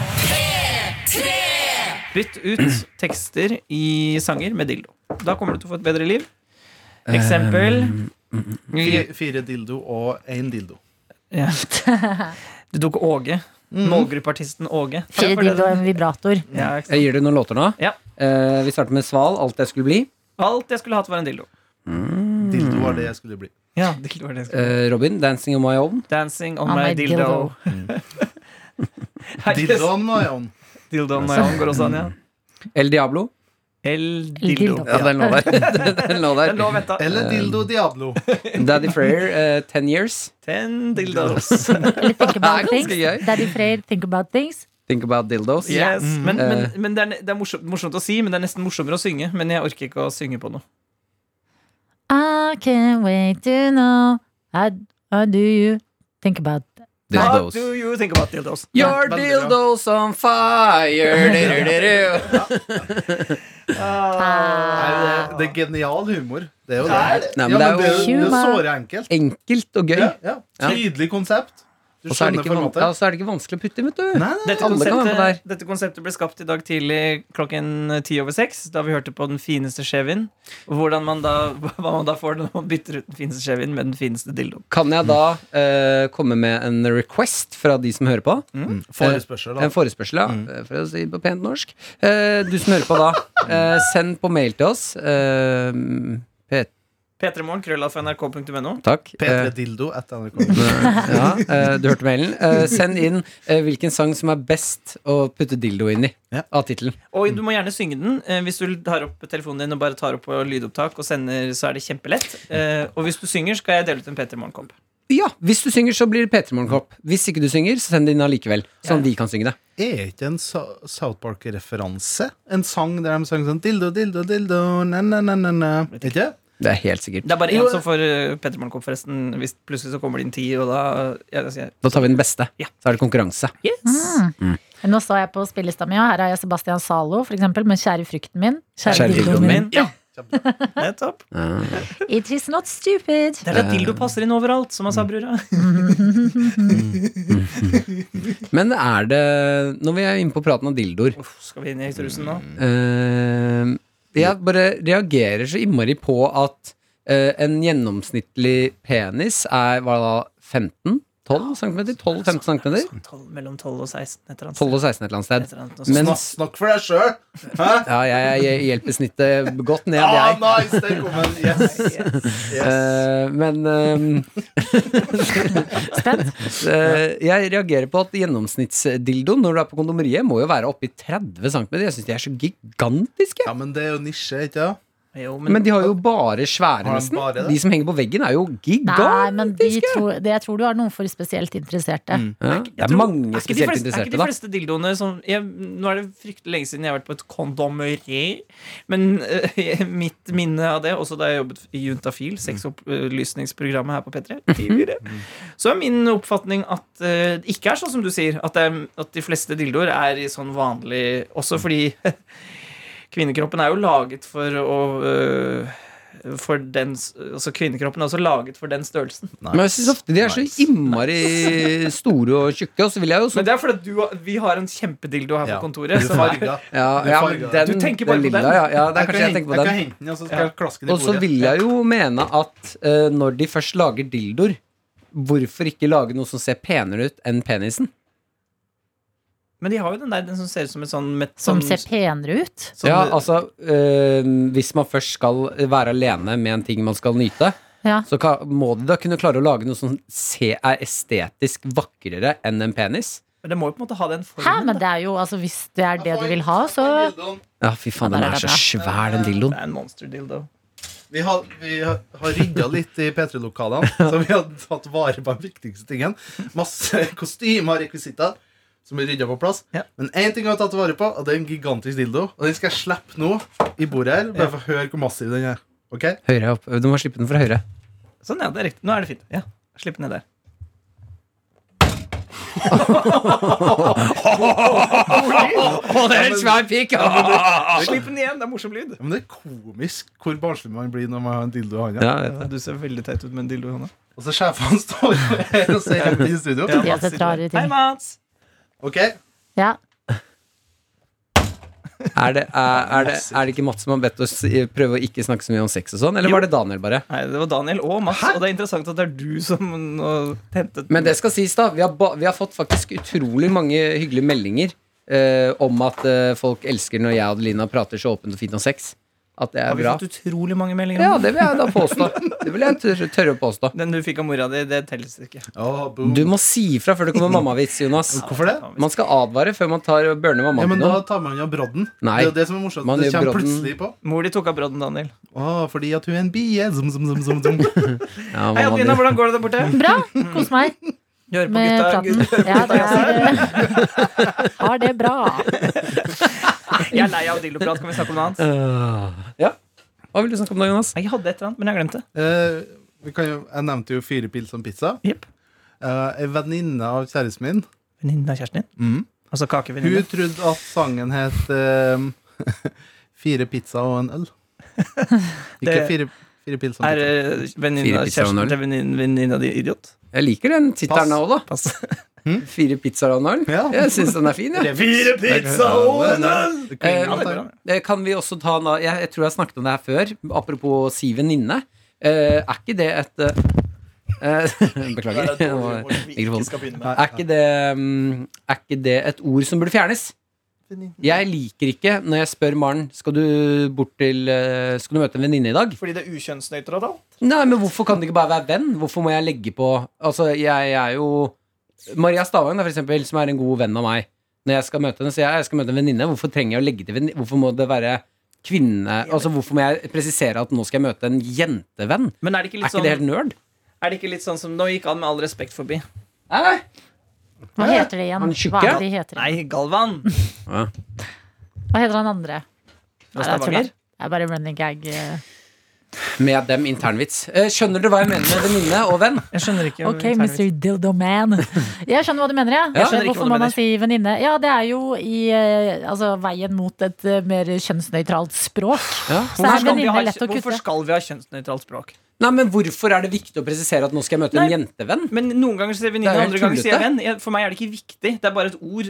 C: Bytt ut tekster i sanger med dildo. Da kommer du til å få et bedre liv. Eksempel mm,
F: Fire, fire dildo og én dildo.
C: ja. Du tok Åge.
B: Mm.
C: Målgruppeartisten Åge.
G: Fire dildo og en vibrator.
C: Ja, ikke sant?
B: Jeg gir deg noen låter nå.
C: Ja.
B: Eh, vi starter med Sval, 'Alt jeg skulle bli'.
C: Alt jeg skulle hatt, var en dildo.
B: Mm.
F: Dildo var det jeg skulle bli.
C: Ja, dildo var det jeg skulle.
B: Eh, Robin, 'Dancing on my own'.
C: Dancing on
G: On
C: my
G: my
C: dildo.
G: dildo.
C: Dildo.
F: Dildoen var jeg om.
C: dildo on my own går også an, ja.
B: El Diablo.
C: El
G: El
C: dildo.
G: dildo.
B: Ja, den lå der. den lå
C: Den lå
B: der.
C: venta.
F: Eller dildo Diablo.
B: Daddy Freyr, eh, 'Ten Years'.
C: Ten dildos.
G: Eller think
B: Det er
G: about
B: ganske
G: things.
B: gøy.
G: Daddy Freyr, think about things.
B: Think about dildos.
C: Yes. Men, men,
B: Eh.
C: men det er, det er morsomt, morsomt å si, men det er nesten morsommere å synge. Men jeg orker ikke å synge på noe.
G: I can't wait to know How how do you think about
C: What
B: Dildos.
C: do you think about dildos?
B: Your dildos on fire. Du-du-du-du.
F: Nei, det, det er genial humor. Det er jo det.
B: Ah. Nei, men det er
F: det er
G: jo-
F: jo det er såre enkelt.
B: Enkelt og gøy.
F: Ja, ja. Tydelig konsept. Du
B: Og så er,
F: skjønner
B: det ikke altså. van ja,
F: formatet.
B: så er det ikke vanskelig å putte inn, vet du.
F: Nei, nei,
C: Dette
B: Alle kan være med på det
C: konseptet,
B: her.
C: dette konseptet ble skapt i dag tidlig klokken eh, ti over seks, da vi hørte på Den fineste skjevin. Hvordan man da, hva man da får når man bytter ut Den fineste skjevin med Den fineste dildoen.
B: Kan jeg da eh, komme med en request fra de som hører på?
F: Forespørsel, da.
B: Eh,
F: Mm.
B: En forespørsel, ja. eh, For å si det på pent norsk. Eh, du som hører på da, eh, send på mail til oss. Eh, P-
C: P3morgen, nrk.no.
B: takk. Eh,
F: P3dildo at NRK.
B: ja, eh, du hørte mailen. Eh, send inn eh, hvilken sang som er best å putte dildo inn i.
F: Ja.
B: Av tittelen.
C: Og du må gjerne synge den. eh, Hvis du tar opp telefonen din og bare tar opp på lydopptak og sender, så er det kjempelett. Eh, Og hvis du synger, skal jeg dele ut en P3morgen-kopp.
B: Ja, hvis du synger, så blir det P3 Morgenkopp. Hvis ikke du synger, så send det inn allikevel. Sånn at vi kan synge det.
F: Er ikke en Sa- South Park-referanse en sang der de sang sånn dildo, dildo, dildo, na-na-na-na? Ikke det?
B: Det er helt sikkert.
C: Det er bare én
F: Jo.
C: som får eh, P3morgen-kopp, forresten. Hvis plutselig så kommer det inn ti, og da ja, da sier jeg, "Mm,
B: Da tar vi den beste.
C: Ja.
B: Så er det konkurranse.
G: Nå så jeg på spillelista mi, og her har jeg Sebastian Zalo, for eksempel, med 'Kjære frykten min'.
B: Kjære
G: Kjære dildoen
B: dildoen
G: min.
C: Ja, nettopp.
G: It is not stupid.
C: Det er at dildo passer inn overalt, som han sa, brura.
B: Men er det Når vi er inne på praten om dildoer
C: Uff, skal vi inn i trusen nå?
B: eh, Jeg bare reagerer så innmari på at eh, en gjennomsnittlig penis er hva da 15? 12 cm? 12-15 cm?
C: Sånn 12, mellom 12 og 16, et eller annet.
B: 12 og 16 et eller
C: Et
B: annet sted.
C: eller annet, og så-
B: Mens
F: Snakk, snakk for deg sjøl!
B: ja, jeg, jeg hjelper snittet godt ned,
F: Ah,
B: jeg.
F: nice! Der kom en. Yes. yes.
B: Eh, men ehm, Eh, jeg reagerer på at gjennomsnittsdildoen når du er på kondomeriet, må jo være oppi 30 cm. Jeg syns de er så gigantiske.
F: Ja, men det er jo nisje, ikke sant?
C: Jo, men,
B: Men de har jo bare svære,
F: Har de
B: nesten.
F: bare det?
B: De som henger på veggen, er jo
G: Nei, men de
B: gigantiske.
G: tror, det, jeg tror du har noen for spesielt interesserte.
B: Ja, det er
C: Er
B: mange
C: ikke de
B: spesielt
C: fleste, er ikke
B: interesserte,
C: de
B: da.
C: fleste dildoene som jeg, Nå er det fryktelig lenge siden jeg har vært på et kondomeri, men eh, mitt minne av det, også da jeg jobbet i Juntafil, sexopplysningsprogrammet her på P3
B: Mhm.
C: tidligere, så er min oppfatning at eh, det ikke er sånn som du sier, at, det er, at de fleste dildoer er i sånn vanlig Også fordi Kvinnekroppen er jo laget for å øh, for den s- Altså kvinnekroppen er også laget for den størrelsen.
B: Men jeg synes ofte de er så innmari store og tjukke, og så vil jeg jo
C: Men
B: så
C: det er fordi at du, har- vi har en kjempedildo her
F: Ja.
C: på kontoret. Som er,
F: Farga.
B: ja, ja, men den,
C: Du tenker bare på
B: lilla,
C: den.
B: Ja, ja, det er
F: Jeg
B: kanskje
F: kan
B: jeg tenker på den.
F: hente den, og så skal jeg klaske den
B: Og
F: i
B: så
F: bordet.
B: vil jeg jo mene at eh, når de først lager dildoer, hvorfor ikke lage noe som ser penere ut enn penisen?
C: men de har jo den der den som ser ut som et sånn met,
G: Som
C: sånn-
G: ser penere ut.
C: sånn-
B: ja, altså eh, Hvis man først skal være alene med en ting man skal nyte,
G: Ja.
B: så ka- må de da kunne klare å lage noe som se, er estetisk vakrere enn en penis.
C: Men det må jo på en måte ha den formen.
G: Hæ,
C: da.
G: men det er jo altså Hvis det er det du vil ha, så
B: Ja, fy faen,
G: Ja,
B: den
G: der er
B: er
G: den,
B: så svær, den dildoen.
C: det er en monster dildo.
F: Vi har, vi har har rydda litt i P3-lokalene, så vi har tatt vare på den viktigste tingen. Masse kostymer og rekvisitter som er rydda på plass.
C: Ja.
F: Men én ting har vi tatt vare på, og det er en gigantisk dildo. Og den skal jeg slippe nå i bordet her, bare for å høre hvor massiv den er. Ok?
B: Høyre opp. Du må slippe den fra høyre.
C: Sånn, ja, det er riktig. Nå er det fint. Ja, Slipp ned der.
B: Å, det er en svær pikk! Ah.
C: Slipp den igjen! Det er morsom lyd.
F: Ja, men det er komisk hvor barnslig man blir når man har en dildo i hånda.
B: Ja, jeg vet det.
C: Du ser veldig teit ut med en dildo i hånda.
F: Og så sjefene står her og ser ut i studio.
C: Ja,
G: Tobias
C: Mats
G: setter
C: sitter der.
G: rare
C: Hei,
G: ting.
C: Mats!
F: Ok,
G: Ja.
B: Er, det, er, er, det, er det ikke Mats som har bedt oss i- prøve å ikke snakke så mye om sex og sånn, eller var det Daniel bare?
C: Nei, det var Daniel og Mats, og det er interessant at det er du som nå hentet
B: Men det skal sies, da. Vi har, ba, vi har fått faktisk utrolig mange hyggelige meldinger eh, om at eh, folk elsker når jeg og Adelina prater så åpent og fint om sex. At det
C: Har
B: er
C: vi
B: bra.
C: fått utrolig mange meldinger?
B: Ja,
C: om
B: det vil jeg da påstå. Det vil jeg tør, tørre å påstå.
C: Den du fikk av mora di, det telles ikke.
F: Åh, boom.
B: Du må si ifra før det kommer mammavits, Jonas.
F: Hvorfor det?
B: Man skal advare før man tar og burner
F: Ja,
B: mammaen
F: men
B: til
F: Da
B: noen.
F: tar man jo brodden.
B: Nei.
F: Det er jo det som er morsomt.
B: Man
F: Det
B: gjør
F: kommer
B: brodden-
F: plutselig på.
C: Mor di tok av brodden, Daniel.
F: Åh, fordi at hun er en bie. Zum, zum, zum, zum, zum.
B: Ja,
C: Hei,
B: mammaen
C: Adelina,
B: din.
C: hvordan går det der borte?
G: Bra! Kos meg
C: Du hører på
G: med
C: gutta.
G: praten. Ja, det er, har det bra.
C: Jeg er lei av dilloprat. Kan vi snakke om noe annet?
B: Ja. Hva vil du snakke om da, Jonas?
C: Nei, Jeg hadde et eller annet, men jeg glemte det.
F: Eh, vi kan jo, jeg nevnte jo fire pils som pizza.
C: Jepp.
F: Uh, en venninne av kjæresten min
C: Venninnen av kjæresten din?
B: Mm.
F: Mhm.
C: Altså
F: Hun
C: kakevenninne?
F: trodde at sangen het eh, Fire pizza og en øl. Ikke
C: Det
F: fire, fire pils som
C: Er
F: pizza.
C: eh, venninna
B: Fire
C: av
B: pizzaer og en øl.
C: kjæresten til vennin- venninna di idiot?
B: Jeg liker den tittelen
F: Pass.
B: òg, da.
C: Pass.
B: Fire pizzaer og en øl.
F: Ja.
B: Jeg syns den er fin, jeg.
F: Fire
B: pizza
F: og en øl!
B: Eh,
C: Ja, det er bra.
B: Eh, Kan vi også ta en av- jeg, jeg tror jeg snakket om det her før Apropos si venninne eh, Er ikke det et eh, eh, Beklager det var mikrofonen. Er ikke det mm, Er ikke det et ord som burde fjernes? Jeg liker ikke når jeg spør Maren Skal du bort til eh, Skal du møte en venninne i dag?
C: Fordi det er ukjønnsnøytralt?
B: Nei, men hvorfor kan det ikke bare være venn? Hvorfor må jeg legge på Altså, jeg, jeg er jo Maria Stavang, da, for eksempel, som er en god venn av meg. Når jeg skal møte henne, så jeg, jeg skal møte en venninne. Hvorfor trenger jeg å legge til venninne? Hvorfor må det være kvinne Altså, hvorfor må jeg presisere at nå skal jeg møte en jentevenn?
C: Men er det ikke
B: Er
C: litt
B: ikke det helt
C: sånn,
B: nerd?
C: er det ikke litt sånn som Nå gikk han med all respekt forbi.
B: Hæ?
G: Hva heter det igjen?
B: Han tjukke?
G: Hva, er det de heter?
C: Nei, Galvan!
G: Hva heter han andre?
C: Fra
G: Nei, det er
C: Stavanger.
G: tull. Det er bare running gag. eh.
B: Med dem internvits. Eh, Skjønner du hva jeg mener med venninne og venn?
C: Jeg skjønner ikke
G: Ok, Mr. Dildo Man. Jeg skjønner hva du mener, jeg.
C: skjønner
B: Ja.
C: ikke hva
G: Hvorfor
C: du
G: må man
C: mener.
G: si venninne? Ja, det er jo i eh, altså, veien mot et eh, mer kjønnsnøytralt språk.
B: Ja.
G: Så er
C: Skal vi
G: venninne
C: ha,
G: lett å
C: hvorfor
G: kutte.
C: skal vi ha kjønnsnøytralt språk?
B: Nei, men hvorfor er det viktig å presisere at nå skal jeg møte en
C: Nei.
B: jentevenn?
C: Men noen ganger sier
B: Det
C: venninne,
B: er jo helt
C: andre ganger sier jeg
B: tullete.
C: venn. Jeg- For meg er det ikke viktig. Det er bare et ord.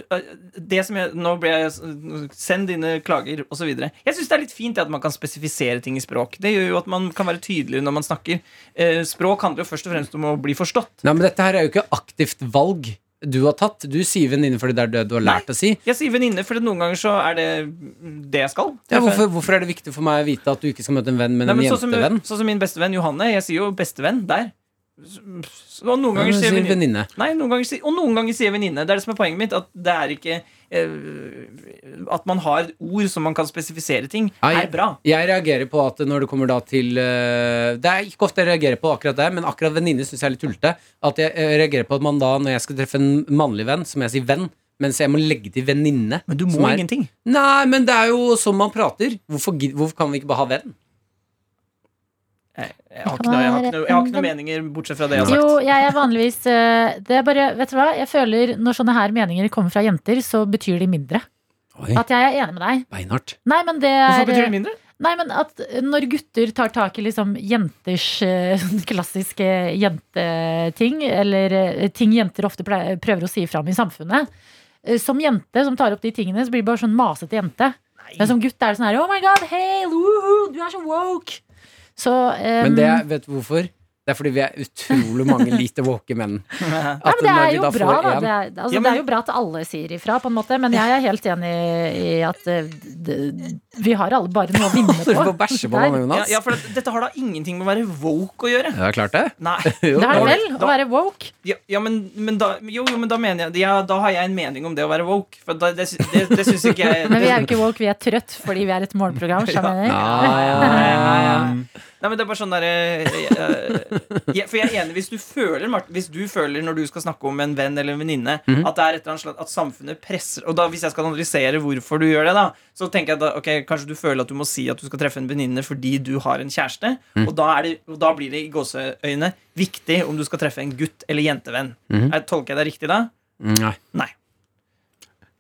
C: Det som jeg, nå ble jeg Send dine klager, osv. Jeg syns det er litt fint det at man kan spesifisere ting i språk. Det gjør jo at man kan være tydeligere når man snakker. Eh, Språk handler jo først og fremst om å bli forstått.
B: Nei, men dette her er jo ikke aktivt valg du har tatt. Du sier venninne fordi det er det du har lært å si.
C: Jeg sier venninne, for noen ganger så er det det jeg skal.
B: Ja, hvorfor, hvorfor er det viktig for meg å vite at du ikke skal møte en venn, men
C: Nei,
B: en
C: men sånn som,
B: jentevenn?
C: sånn som min bestevenn Johanne. Jeg sier jo bestevenn der. Så, og noen
B: Ja,
C: ganger
B: men
C: sier
B: sier
C: venninne
B: venninne.
C: Nei, noen ganger, si- og noen ganger sier venninne. Det er det som er poenget mitt. At det er ikke eh, At man har ord som man kan spesifisere ting,
B: Nei.
C: er bra.
B: Jeg reagerer på at når det kommer da til eh, Det er ikke ofte jeg reagerer på akkurat det, men akkurat venninne syns jeg er litt tullete. At jeg eh, reagerer på at man da, når jeg skal treffe en mannlig venn, så må jeg si venn. Mens jeg må legge til venninne.
C: Men du må
B: som er-
C: ingenting.
B: Nei, men det er jo sånn man prater. Hvorfor, gid- hvorfor kan vi ikke bare ha venn?
C: Jeg, jeg, har ikke noe, jeg, har ikke noe, jeg har ikke noe meninger bortsett fra det jeg har
G: Jo,
C: sagt.
G: jeg er vanligvis eh, Det er bare, vet du hva, jeg føler når sånne her meninger kommer fra jenter, så betyr de mindre.
B: Oi,
G: At jeg er enig med deg.
B: beinhardt.
G: Nei, men det er eh,
C: Hvorfor betyr det mindre?
G: Nei, men at når gutter tar tak i liksom jenters eh, sånn klassiske jenteting, eller eh, ting jenter ofte ple- prøver å si fram i samfunnet eh, Som jente som tar opp de tingene, så blir det bare sånn masete jente. Men som gutt er det sånn her Oh my god, hey, woohoo, du er så woke! Så eh,
B: Men det, er- vet du hvorfor? Det er fordi vi er utrolig mange lite woke menn.
G: ja,
B: At
G: men det
B: når
G: er
B: vi
G: jo
B: da
G: bra,
B: får
G: da.
B: en-
G: Det er,
C: Ja,
G: altså, det
C: men-
G: er jo bra at alle sier ifra, på en måte. Men jeg er helt enig i at eh, d- vi har alle bare noe å vinne på.
B: Du får bæsje på
G: Der.
B: meg,
C: Ja,
B: Jonas.
C: ja, for det, dette har da ingenting med å være woke å gjøre.
B: Ja, klart det.
C: Nei.
B: Jo,
G: Det er
B: da-
G: vel å være woke.
C: Ja, ja men, men da, jo, jo, men da mener jeg ja, Da har jeg en mening om det å være woke. For da, det, sy- det, det syns ikke jeg
G: Men vi er jo ikke woke, vi er trøtt fordi vi er et morgenprogram. skjønner jeg.
B: Ja, ja, ja, ja.
C: Nei, men det er bare sånn der, eh, eh, jeg- For jeg er enig, hvis du føler Martin, Hvis du føler når du skal snakke om en venn eller en venninne At det er et eller annet slags At samfunnet presser Og da hvis jeg skal analysere hvorfor du gjør det da Så tenker jeg da, ok, kanskje du føler at du må si At du skal treffe en venninne fordi du har en kjæreste og, da er det, og da blir det i gåseøyne Viktig om du skal treffe en gutt eller jentevenn Er- Tolker jeg det riktig da?
B: Nei.
C: Nei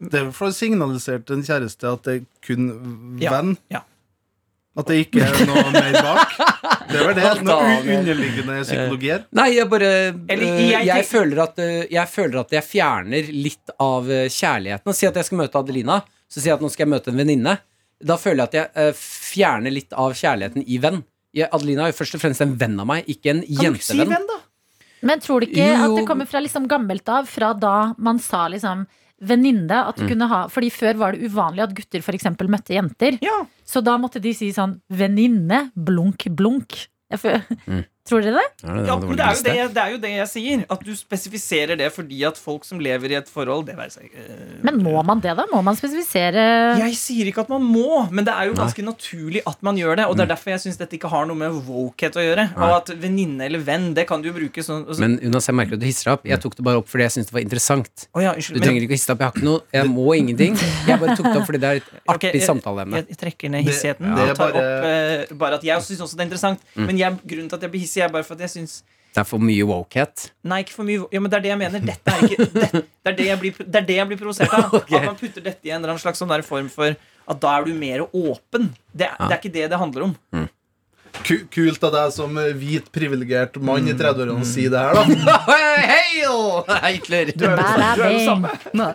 F: Det er for å signalisere til en kjæreste at det er kun
C: Ja,
F: venn.
C: ja.
F: At det ikke er noe mer bak. Det er vel det. Noe
B: Daniel.
F: underliggende psykologier.
B: Nei, jeg bare
C: Eller,
B: øh,
C: jeg tenker-
B: jeg, føler at, øh, jeg føler at jeg fjerner litt av øh, kjærligheten. Si at jeg skal møte Adelina, så sier jeg at nå skal jeg møte en venninne. Da føler jeg at jeg øh, fjerner litt av kjærligheten i venn. Jeg, Adelina er jo først og fremst en venn av meg, ikke en
C: Kan du ikke si
B: jentevenn.
C: venn da?
G: Men tror du ikke
B: Jo, jo.
G: at det kommer fra liksom gammelt av, fra da man sa liksom venninne at du kunne ha Fordi før var det uvanlig at gutter f.eks. møtte jenter.
C: Ja.
G: Så da måtte de si sånn venninne, blunk, blunk. Jeg fø- Tror dere det?
C: Ja, men det er, jo det, jeg- det er jo det jeg sier At du spesifiserer det fordi at folk som lever i et forhold Det være seg eh,
G: Men eh, må man det, da? Må man spesifisere
C: Jeg sier ikke at man må, men det er jo ganske naturlig at man gjør det. Og det er derfor jeg syns dette ikke har noe med wokehet å gjøre. Og at venninne eller venn, det kan du jo bruke sånn og så-
B: Men Jonas, jeg merker at du hisser deg opp. Jeg tok det bare opp fordi jeg syntes det var interessant.
C: Å ja,
B: Du
C: unnskyld.
B: trenger
C: Men,
B: ikke å hisse deg opp. Jeg har ikke noe Jeg må ingenting. Jeg bare tok det opp fordi det er et
C: Ok,
B: artig
C: jeg-
B: samtaleemne.
C: jeg, jeg trekker ned hissigheten.
F: Det- det er
C: og tar
F: bare-
C: opp, eh, bare at jeg syns også det er interessant. Men jeg, grunnen til at jeg blir hissig, er bare for at jeg syns
B: Det er for mye wokehet.
C: Nei, ikke for mye Ja, men det er det jeg mener. Dette er ikke det, det, er det, jeg, blir, det er det jeg blir provosert av. At man putter dette i en eller annen slags sånn der form for at da er du mer åpen. Det, er- det er ikke det det handler om.
F: Ku- Kult av deg som hvit, privilegert mann i 30-årene å si det her, da.
B: Hail! Hitler!
G: Bada
C: Du er det
G: bing.
C: samme.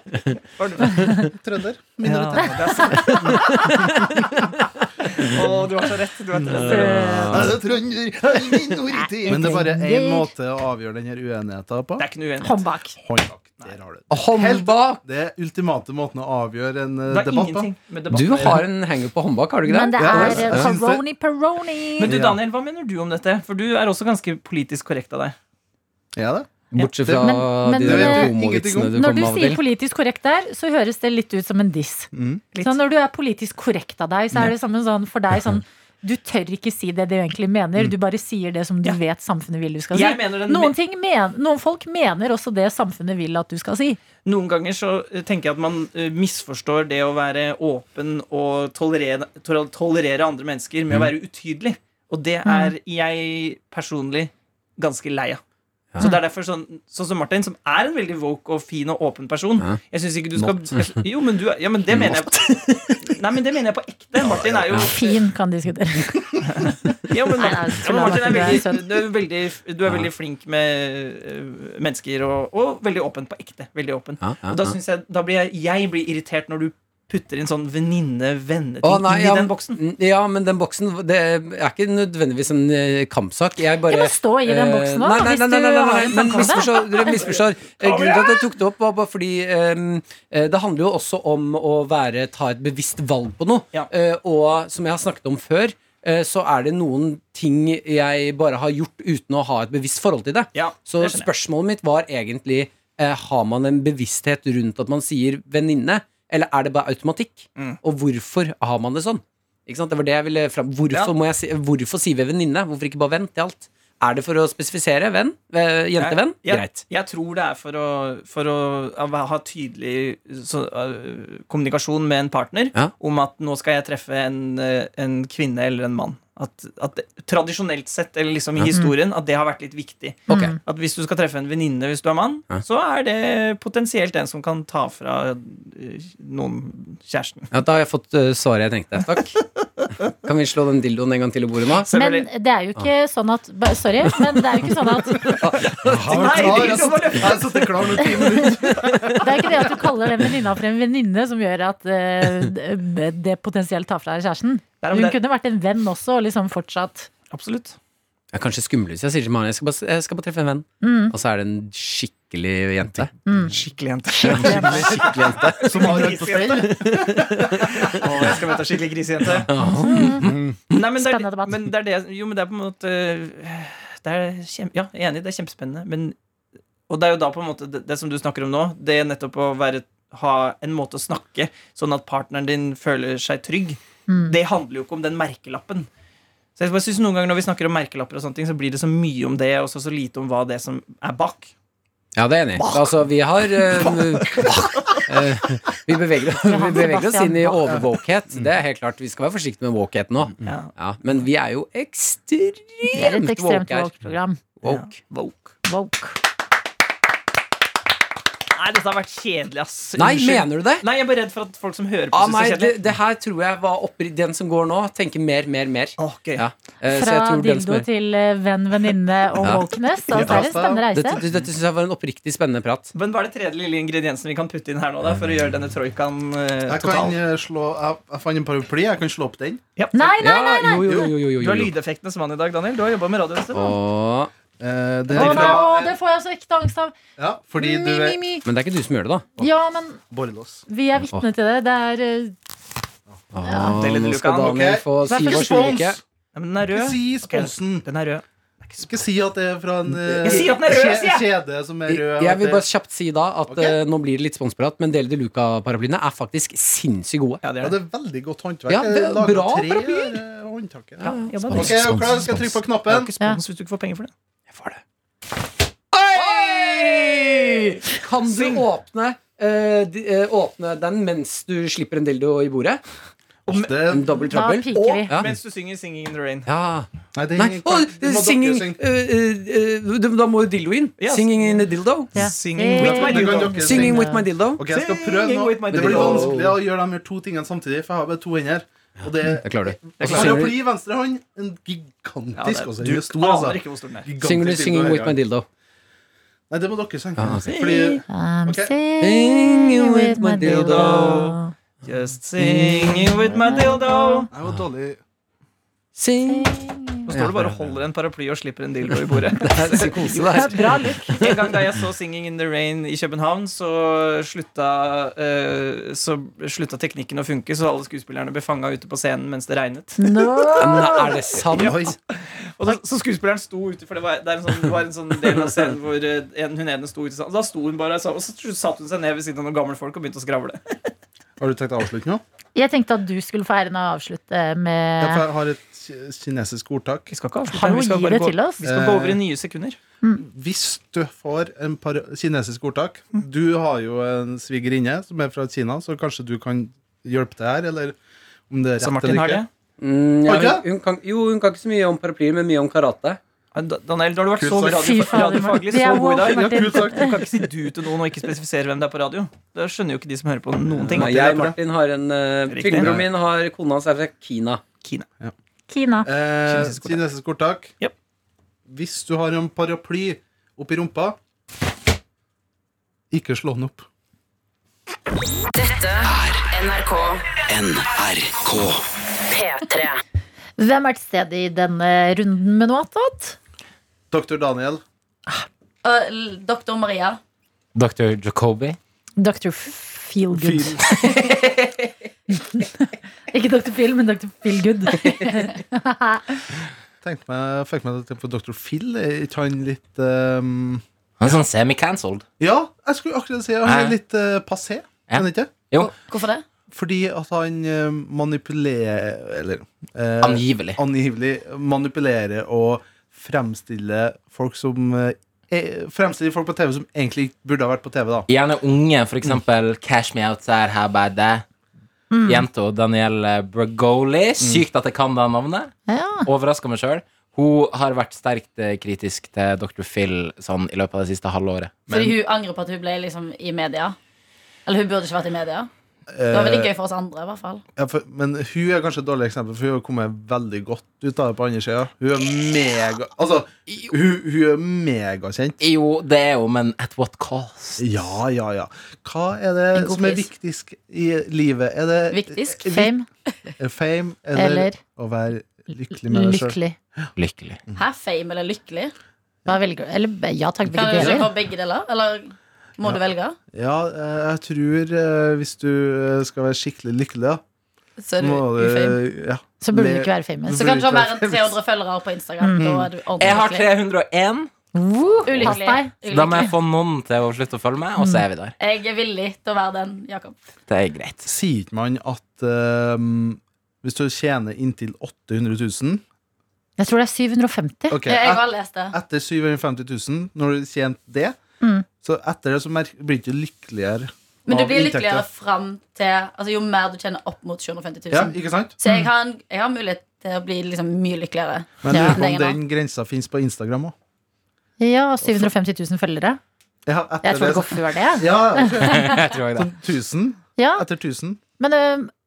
F: Trønder.
C: Ja, det er sant. Å, du har så rett. Du har så rett.
F: Jeg er trønder, jeg er minoritet. Men det er bare én måte å avgjøre denne uenigheten på.
C: Det er ikke noe uenighet.
G: Hånd bak.
F: Håndbak. Der har du det.
B: Håndbak!
F: Det er ultimate måten å avgjøre en eh,
C: Det er
F: debatt på.
C: ingenting med debatt.
B: Du har en hangup på håndbak, har du ikke det?
G: Men det
F: Ja,
G: er eh,
F: jeg synes det-
G: peroni, peroni.
C: Men du,
F: Ja.
C: Daniel, hva mener du om dette? For du er også ganske politisk korrekt av deg.
F: Ja, det.
B: Bortsett fra
G: Men- men-
B: de der
G: men-
B: homovitsene du
G: Når
B: kom
G: du
B: med av og
G: sier
B: til.
G: politisk korrekt der, så høres det litt ut som en diss.
C: Litt.
G: Så når du er politisk korrekt av deg, så er det som en sånn for deg sånn du tør ikke si det du egentlig
B: Mm.
G: mener, du bare sier det som du
C: Ja.
G: vet samfunnet vil du skal si.
C: Jeg mener den-
G: Noen, ting men, noen folk mener også det samfunnet vil at du skal si.
C: Noen ganger så eh, tenker jeg at man eh, misforstår det å være åpen og tolerere, tol- tolerere andre mennesker med å være utydelig. Og det
G: Mm.
C: er jeg personlig ganske lei av. Så det er derfor sånn, sånn som Martin, som er en veldig woke og fin og åpen person Jeg synes ikke du skal jeg- Jo, men du er- Ja, men det mener jeg Nei, men det mener jeg på ekte. Martin er jo
G: Fin kan diskutere.
C: Ja, men,
G: Nei, nei,
C: ja, men Martin er
G: du er
C: veldig,
G: søt.
C: du er veldig, du er veldig flink med øh, mennesker og, og veldig åpen på ekte. Veldig åpen.
B: Ja, ja,
C: Og da,
B: ja.
C: synes jeg, da blir jeg, jeg blir irritert når du putter inn sånn venninne-venneting
B: Å, nei,
C: i
B: ja,
C: den boksen.
B: mm, Ja, men den boksen Det er ikke nødvendigvis en eh, kampsak. Jeg
G: Ja,
B: bare
G: men stå i den
B: eh,
G: boksen nå,
B: nei, nei,
G: hvis
B: nei, nei,
G: du
B: nei,
G: har
B: nei,
G: en
B: men
G: tanke om det.
B: misforstår. Dere misforstår. Eh, Grunnen til at jeg tok det opp, var bare fordi eh, eh, det handler jo også om å være, ta et bevisst valg på noe.
C: Ja.
B: Eh, og som jeg har snakket om før, eh, så er det noen ting jeg bare har gjort uten å ha et bevisst forhold til det.
C: Ja,
B: Så
C: det skjønner jeg.
B: spørsmålet mitt var egentlig eh, Har man en bevissthet rundt at man sier venninne, eller er det bare automatikk?
C: Mm.
B: Og hvorfor har man det sånn? Ikke sant? Det var det jeg ville fram Hvorfor,
C: Ja.
B: må jeg si, hvorfor sier vi venninne? Hvorfor ikke bare venn til alt? Er det for å spesifisere venn? Eh, Jentevenn?
C: Jeg, jeg,
B: Greit.
C: jeg tror det er for å, for å av- ha tydelig så, øh, kommunikasjon med en partner
B: Ja.
C: om at nå skal jeg treffe en, øh, en kvinne eller en mann. At, at det, tradisjonelt sett, eller liksom i historien, at det har vært litt viktig.
B: Ok.
C: At hvis du skal treffe en venninne hvis du er mann, så er det potensielt en som kan ta fra eh, noen kjæresten.
B: Ja, da har jeg fått eh, svaret jeg trengte. Takk. Kan vi slå den dildoen en gang til i bordet nå?
G: Men det er jo ikke
B: Ah.
G: sånn at ba- Sorry, men det er jo ikke sånn at Det
C: Nei,
F: klar,
C: det var det.
F: Jeg har sittet klar nå i ti minutter.
G: er ikke det at du kaller den venninna for en venninne som gjør at eh, det potensielt tar fra deg kjæresten.
C: Nei, men
G: Hun
C: det-
G: kunne vært en venn også, og liksom fortsatt
C: Absolutt.
B: Jeg er kanskje skummel hvis jeg sier til mannen jeg skal, bare, jeg skal bare treffe en venn. Og så er det en skikkelig jente.
C: Skikkelig jente.
B: Skikkelig jente.
F: Som har alt på stell.
C: Å, jeg skal møte en skikkelig grisejente. Mm. Nei, men det er,
G: Spennende debatt.
C: Men det er det, jo, men det er på en måte øh, det er kjem, Ja, jeg er enig, det er kjempespennende. Men, og det er jo da på en måte det, det som du snakker om nå, det er nettopp å være, ha en måte å snakke sånn at partneren din føler seg trygg.
G: Mm.
C: Det handler jo ikke om den merkelappen. Så jeg bare synes Noen ganger når vi snakker om merkelapper, og sånne ting så blir det så mye om det, og så, så lite om hva det er som er bak.
B: Ja, det er jeg enig. i. Altså, vi har eh, eh, Vi beveger, vi beveger oss inn i overvåkhet. Det er helt klart. Vi skal være forsiktige med wokehet nå.
C: Mm. Ja.
B: Ja, men vi er jo
G: Det er et
B: ekstremt
G: ekstremt
B: woke her.
G: woke-program.
B: Woke.
C: Woke.
G: Woke.
C: Nei, dette har vært kjedelig, ass.
B: Nei,
C: Unnskyld.
B: mener du det?
C: Nei, jeg er bare redd for at folk som hører på,
B: Ah,
C: synes
B: nei,
C: det er
B: det,
C: kjedelig.
B: det her tror jeg var oppi Den som går nå, tenker mer, mer, mer.
C: Åh, gøy.
B: Ja. Eh, så jeg
G: Fra
B: tror den som
G: dildo
B: er-
G: til eh, venn, venninne og
B: Ja.
G: wokeness. Altså, det er en spennende
B: Dette,
G: reise.
B: dette syns jeg var en oppriktig spennende prat.
C: Men hva er det tredje lille ingrediensen vi kan putte inn her nå, da, for å gjøre denne troikaen eh,
F: Jeg kan
C: total?
F: eh, slå Jeg, jeg fant en paraply. Jeg kan slå opp den.
G: Nei, nei, nei!
B: Ja, jo, jo, jo, jo, jo,
C: Du har
B: jo, jo.
C: lydeffektene som vanlig i dag, Daniel. Du har jobba med radio en stund. da.
B: Åh,
F: Eh, det er
G: Å, nei, å,
F: fra
G: det får jeg så ekte angst av.
F: ja, Fordi du
G: Mi, mi,
F: er
G: mi.
B: Men det er ikke du som gjør det, da.
G: Ja, men
F: borrelås.
G: vi er vitne til det. Det er eh,
B: Åh,
C: Det er litt
B: nå skal
C: Lukan,
B: Daniel
F: ok.
B: få
G: Vær
B: syv og
G: forsiktig.
B: sju uker.
C: Nei, men den er
F: Ikke
C: rød.
F: si sponsen.
C: Den er rød.
F: Ikke si at det er fra en eh,
C: Jeg sier at den er rød,
F: kje-
C: sier jeg.
F: kjede som er rød.
B: Jeg vil
F: at det-
B: bare kjapt si da at
F: Ok.
B: eh, nå blir det litt sponsprat, men Dele de Luca-paraplyene er faktisk sinnssykt gode.
C: Ja, det
F: Ja,
C: er det.
F: det er veldig godt håndverk.
B: Ja, det er
F: Laget
B: bra
F: tre av,
B: paraplyer.
F: eh, håndtaket.
C: Ja, men-
F: Ok, er du klar? Skal jeg trykke på
C: Det er jo
F: knappen?
C: ikke spons hvis du ikke får penger for det.
B: Jeg får det. Oi! Kan du
C: Syng.
B: åpne, eh, de, eh, åpne den mens du slipper en dildo i bordet?
F: Det,
B: En double
G: Da
B: trouble.
G: piker vi.
B: Ja.
C: Mens du synger 'Singing in the Rain'.
B: ja.
F: nei, det er
B: Nei,
F: ingen
B: å,
F: knapp. Du må
B: singing
F: dokke, syng.
B: eh, eh, eh, Da må jo dildo inn.
C: Ja.
B: Singing in a dildo.
G: Ja.
C: Singing with my
F: Det kan
C: dildo.
F: dere synge.
B: Singing with my dildo.
F: eh, Ok, jeg skal prøve
C: Singing
F: nå.
C: with my
F: Det blir
B: dildo.
F: vanskelig å gjøre de her to tingene samtidig, for jeg har bare to hender. Og det
B: Det klarer du. Og så synger du
F: Paraply i venstre hånd. En gigantisk
C: Ja, det, du
F: altså. Den er stor, altså.
C: aner ikke hvor stor den er.
F: Gigantisk
B: synger du
F: dildo
B: 'Singing
F: her,
B: with
F: ja.
B: my dildo'.
F: Nei, det må dere synge.
B: Ah, ok.
F: Fordi
G: I'm
F: Ok.
G: singing with my dildo.
C: Just singing with my dildo.
F: jeg var dårlig
B: Sing
F: Mm.
C: Nå står du bare og holder en paraply og slipper en dildo i bordet.
B: Psykose, det her.
G: Bra look.
C: En gang da jeg så 'Singing in the Rain' i København, så slutta, eh, så slutta teknikken å funke, så alle skuespillerne ble fanga ute på scenen mens det regnet.
G: No.
B: Nei, er det sant?
C: Og da, så skuespilleren sto ute, for det var, det, er en sånn, det var en sånn del av scenen hvor eh, en, hun ene sto ute. sånn, Og da sto hun bare, og så, og så satte hun seg ned ved siden av noen gamle folk og begynte å skravle.
F: Har du tenkt å avslutte nå?
G: Jeg tenkte at du skulle få æren av å avslutte
F: Ja, for
G: med
F: jeg har et ki- kinesisk ordtak.
C: Vi skal ikke avslutte,
G: Hallo,
C: vi skal
G: gi det til
C: gå, Eh,
G: oss.
C: vi skal gå over i nye sekunder.
F: Hvis du får en par kinesisk ordtak Du har jo en svigerinne som er fra Kina, så kanskje du kan hjelpe til her, eller om det er
C: Så
F: rett
C: Martin
F: eller
C: har
F: ikke.
C: det.
B: Mm, ja,
F: Har du ikke?
B: hun, hun kan, jo, hun kan ikke så mye om paraplyer, men mye om karate.
C: Ja, Da- Daniel, da har du vært
F: Kult
C: så
F: sagt.
C: radio,
G: Fy fader,
C: radiofaglig så
G: Martin. Det er
C: god i dag.
G: woke, Martin.
C: Ja, kult sagt. Du kan ikke si du til noen og ikke spesifisere hvem det er på radio. Da skjønner jo ikke de som hører på noen ting.
B: Nei, jeg Martin har en uh,
C: Riktig.
B: Tvillingbroren min har kona hans er fra Kina.
G: Kina.
F: Eh,
C: Kinesisk ordtak.
F: kinesisk ordtak.
C: Jep.
F: Hvis du har en paraply oppi rumpa, ikke slå den opp.
I: NRK. NRK. P3.
G: Hvem er til stede i denne runden med noe attåt?
F: Doktor Daniel.
I: Øh, l- Doktor Maria.
E: Dr. Jacobi.
G: Dr. Feelgood. Ikke Dr. Phil, men Dr. Feelgood.
F: Tenkte meg, fikk meg til å tenke på Dr. Phil. Er ikke han litt ehm,
E: Han er sånn semi-cancelled.
F: Ja, jeg skulle akkurat si han
E: Eh.
F: er litt eh, passé.
E: Ja.
F: Skjønner ikke?
E: Jo,
I: Hvorfor det?
F: Fordi at han eh, manipulerer Eller eh,
E: angivelig.
F: angivelig manipulerer og fremstiller folk som eh, eh, Fremstiller folk på TV som egentlig ikke burde ha vært på TV, da.
E: Gjerne unge, for eksempel Cash Me Outside Her By Deg.
I: Mm.
E: Jenta Danielle Bragoli. Sykt at jeg kan det navnet.
G: Ja.
E: Overraska meg sjøl. Hun har vært sterkt eh, kritisk til Dr. Phil sånn, i løpet av det siste halvåret.
I: Fordi hun angrer på at hun ble liksom i media. Eller hun burde ikke vært i media. Det var veldig gøy for oss andre, i hvert fall.
F: Ja, for, men hun er kanskje et dårlig eksempel, for hun har kommet veldig godt ut av det på andre sida. Hun er mega Altså, hun, hun er megakjent.
E: Jo, det er jo, men at what cost?
F: Ja, ja, ja. Hva er det
I: En god
F: som er
I: pris.
F: viktigst i livet? Er det Eh,
I: Viktigst.
G: Fame
F: Er fame eller,
G: Eller-
F: å være lykkelig med deg sjøl?
G: lykkelig.
E: Lykkelig.
I: Hæ, fame eller lykkelig?
G: Hva velger du? Eller ja takk,
I: Kan
G: begge
I: du ikke
G: deler.
I: få begge deler? Eller må du velge?
F: Ja, eh, jeg tror eh, hvis du eh, skal være skikkelig lykkelig, da,
I: Så er du
F: må du
I: ufame.
F: ja.
G: Så burde du
F: le-
G: ikke være famous.
I: Så
F: burde
I: kanskje du har mer
F: ikke
I: enn
F: være
I: 300 følgere på Instagram. Da er du ordentlig
E: Jeg har
I: lykkelig.
E: 301.
G: Pass
I: Ulykkelig.
G: deg.
E: så Da må jeg
I: Ulykkelig.
E: få noen til å slutte å følge meg, og så er vi der.
I: Jeg er villig til å være den, Jakob.
E: Det er greit.
F: Sier ikke man at eh, hvis du tjener inntil 800 000
G: Jeg tror det er 750.
F: Ok,
I: Jeg
F: et-
I: har lest det.
F: etter 750 000, når du tjente det,
G: Mm.
F: så etter det så merk- blir du ikke lykkeligere
I: Men du
F: av
I: blir
F: inntekter.
I: lykkeligere fram til altså, Jo mer du tjener opp mot 750
F: Ja,
I: 000.
F: ikke sant?
I: Så jeg har, en, jeg har mulighet til å bli liksom mye lykkeligere.
F: Men
G: Ja.
F: lurer på om
I: Lenger nå.
F: den grensa fins på Instagram òg.
G: Ja, 750 000 følgere.
F: Ja,
G: Jeg
F: etter
G: tror det
F: det
G: går før det.
F: ja, ja.
E: Jeg tror jeg det.
F: Sånn 1000.
G: Ja,
F: Etter 1000.
G: Men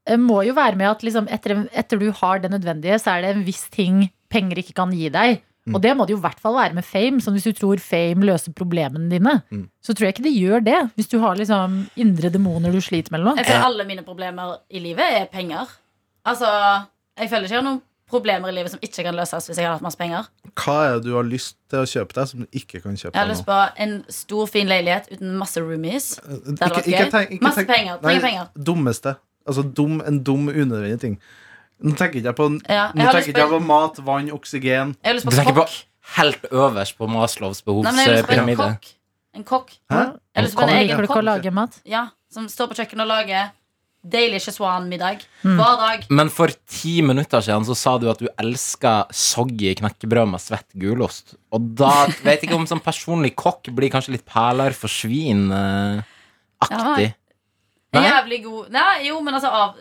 G: det må jo være med at liksom etter, etter du har det nødvendige, så er det en viss ting penger ikke kan gi deg.
E: Mm.
G: Og det må det jo i hvert fall være med fame. Sånn hvis du tror fame løser problemene dine,
F: Mm.
G: så tror jeg ikke det gjør det. Hvis du har liksom indre demoner du sliter med eller
I: Jeg
G: noe.
I: føler alle mine problemer i livet er penger. Altså, Jeg føler ikke jeg har noen problemer i livet som ikke kan løses hvis jeg hadde hatt masse penger.
F: Hva er det du har lyst til å kjøpe deg som du ikke kan kjøpe
I: Jeg har
F: deg
I: lyst
F: nå? Eh,
I: på en stor, fin leilighet uten masse roomies.
F: Ikke,
I: hadde vært gøy.
F: tenk-
I: Masse
F: tenk-
I: penger,
F: Nei,
I: trenger penger.
F: Dummeste. Altså dum, en dum, unødvendig ting. Nå tenker ikke jeg på,
I: Ja, jeg
F: nå
I: har lyst
F: tenker ikke jeg på
I: på-
F: mat, vann, oksygen.
I: Jeg har lyst
E: Du
I: på
E: tenker på
I: kokk.
E: helt øverst på Maslows
I: Nei, men jeg har lyst på en
E: behovspyramide.
I: kokk. En kokk.
F: Hæ?
I: Jeg har lyst på en
G: Kommer
I: egen
G: folk og
I: kokk
G: lager mat?
I: ja, som står på kjøkkenet og lager deilig schezwan-middag hver dag.
E: Men for ti minutter siden så sa du at du elska soggy knekkebrød med svett gulost. Og da vet jeg ikke om sånn personlig kokk blir kanskje litt perler for eh, svin-aktig.
I: En
E: Nei?
I: Jævlig god Nei, jo, men altså av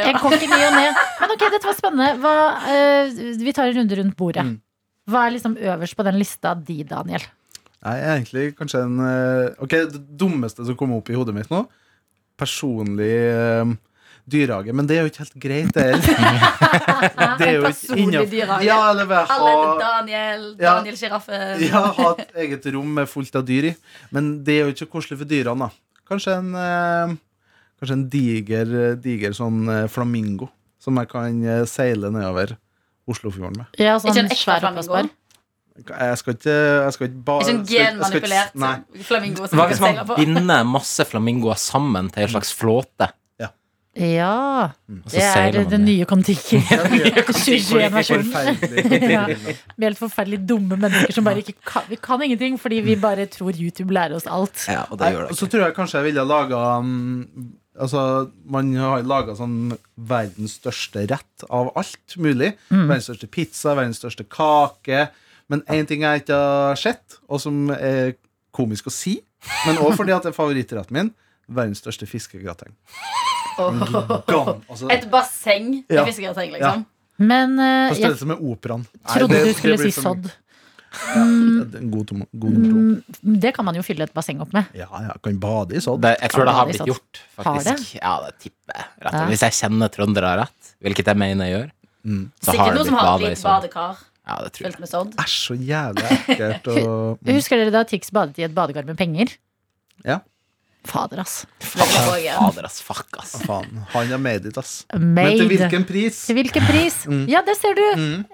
G: En kokk i ny og ne. Men ok, dette var spennende. Hva, eh, vi tar en runde rundt bordet.
E: Mm.
G: Hva er liksom øverst på den lista di, Daniel?
F: Nei, egentlig kanskje en eh, Ok, det dummeste som kom opp i hodet mitt nå Personlig eh, dyrehage Men det er jo ikke helt greit det heller. Det er jo ikke
I: Personlig
F: innenfor-
I: dyrehage.
F: Ja, eller være-
I: Alle heter
F: ha
I: Daniel.
F: Ja.
I: Daniel Sjiraffen.
F: ja, ha et eget rom med fullt av dyr i Men det er jo ikke koselig for dyrene da Kanskje en eh, Kanskje en diger, diger sånn eh, flamingo Som jeg kan eh, seile nedover Oslofjorden med
G: Ja, sånn
I: Ikke en ekte
G: svær
I: flamingo?
G: oppblåsbar.
F: Jeg skal ikke Jeg skal ikke bare
I: Ikke en genmanipulert
F: Nei
I: flamingo som
E: Hva
I: du
E: hvis
I: kan
E: man
I: seile på.
E: binder masse flamingoer sammen til en slags flåte?
G: Ja.
E: Og så
G: Det er
E: seiler man
G: den
E: med?
G: nye kontikken.
F: Forferdelig.
G: 2021-versjonen. Ja.
F: Forferdelig.
G: Vi er helt forferdelig dumme mennesker som bare ikke kan, vi kan ingenting fordi
F: Mm.
G: vi bare tror YouTube lærer oss alt.
E: Ja, og det gjør
F: Nei,
E: det.
F: Så tror jeg kanskje jeg ville laga mm, Altså, man har laga sånn verdens største rett av alt mulig.
G: Mm.
F: Verdens største pizza, verdens største kake. Men én ting jeg ikke har sett, og som er komisk å si, men òg fordi at det er favorittretten min, verdens største fiskegrateng.
I: Åh.
F: Gam, Altså,
I: Et basseng med
F: Ja.
I: fiskegrateng, liksom.
G: Men eh,
F: på
G: jeg
F: størrelse med operaen.
G: trodde du skulle si sånn. sodd.
F: En god tom- god ro.
G: Mm. Det kan man jo fylle et basseng opp med.
F: Ja, ja, kan bade i sånn. sodd.
E: det. Jeg tror det har
G: Har
E: blitt
G: det?
E: gjort, faktisk. Ja, det tipper jeg. Rett. og slett.
G: Ja.
E: Hvis jeg kjenner trøndere rett, hvilket jeg mener jeg gjør, så har
I: Sikkert
E: det
I: noen som
E: blitt
I: har et
E: badet i
I: lite
E: sånn.
I: badekar
E: Ja, det tror jeg.
I: fylt med sodd.
F: Æsj, så jævlig ekkelt. Og,
G: Husker dere da Tix badet i et badekar med penger?
F: Mm. Ja.
G: Fader, ass.
I: Veldig bra.
E: Fader, ass. Fuck, ass.
F: faen, han har made it, ass. Men
G: Made.
F: til hvilken pris?
G: Til hvilken pris? Ja, det ser du!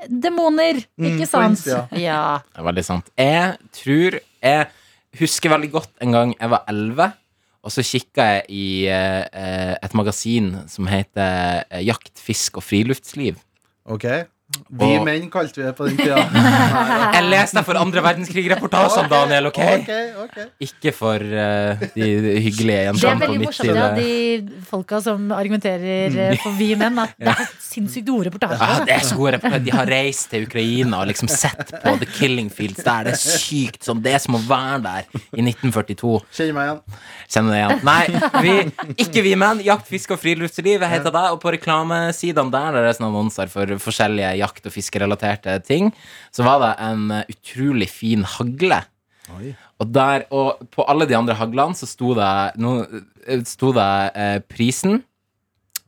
G: Demoner,
F: Mm,
G: ikke
F: på
G: sant?
F: innsida.
G: Ja.
E: Det er veldig sant. Jeg tror Jeg husker veldig godt en gang jeg var 11, og så kikka jeg i eh, eh, et magasin som heter eh, Jakt, fisk og friluftsliv.
F: Ok. Vi
E: Og-
F: menn kalte vi det på den tida. Nei,
E: Jeg leste for andre verdenskrig-reportasjer, Daniel, OK?
F: ok, ok.
E: Ikke for eh, de de hyggelige jentene
G: Det er
E: på
G: veldig
E: mitt
G: morsomt, ja,
E: side.
G: de folka som argumenterer
F: Mm.
G: eh, for vi menn, at det er sinnssykt gode
E: Ja,
G: reportasjer.
E: det er så gode reportasjer. De har reist til Ukraina og liksom sett på The Killing Fields. Der. Det er sykt som det er som å være der i 1942.
F: Kjenner meg igjen.
E: Kjenner det igjen. Nei, vi, ikke vi menn. Jakt, fisk og friluftsliv jeg heter det. Og på reklamesidene der der er sånne annonser for forskjellige jakt- og fiskerelaterte ting, så var det en eh, utrolig fin hagle Og, der, og på alle de andre haglene så sto det, no, sto det eh, prisen.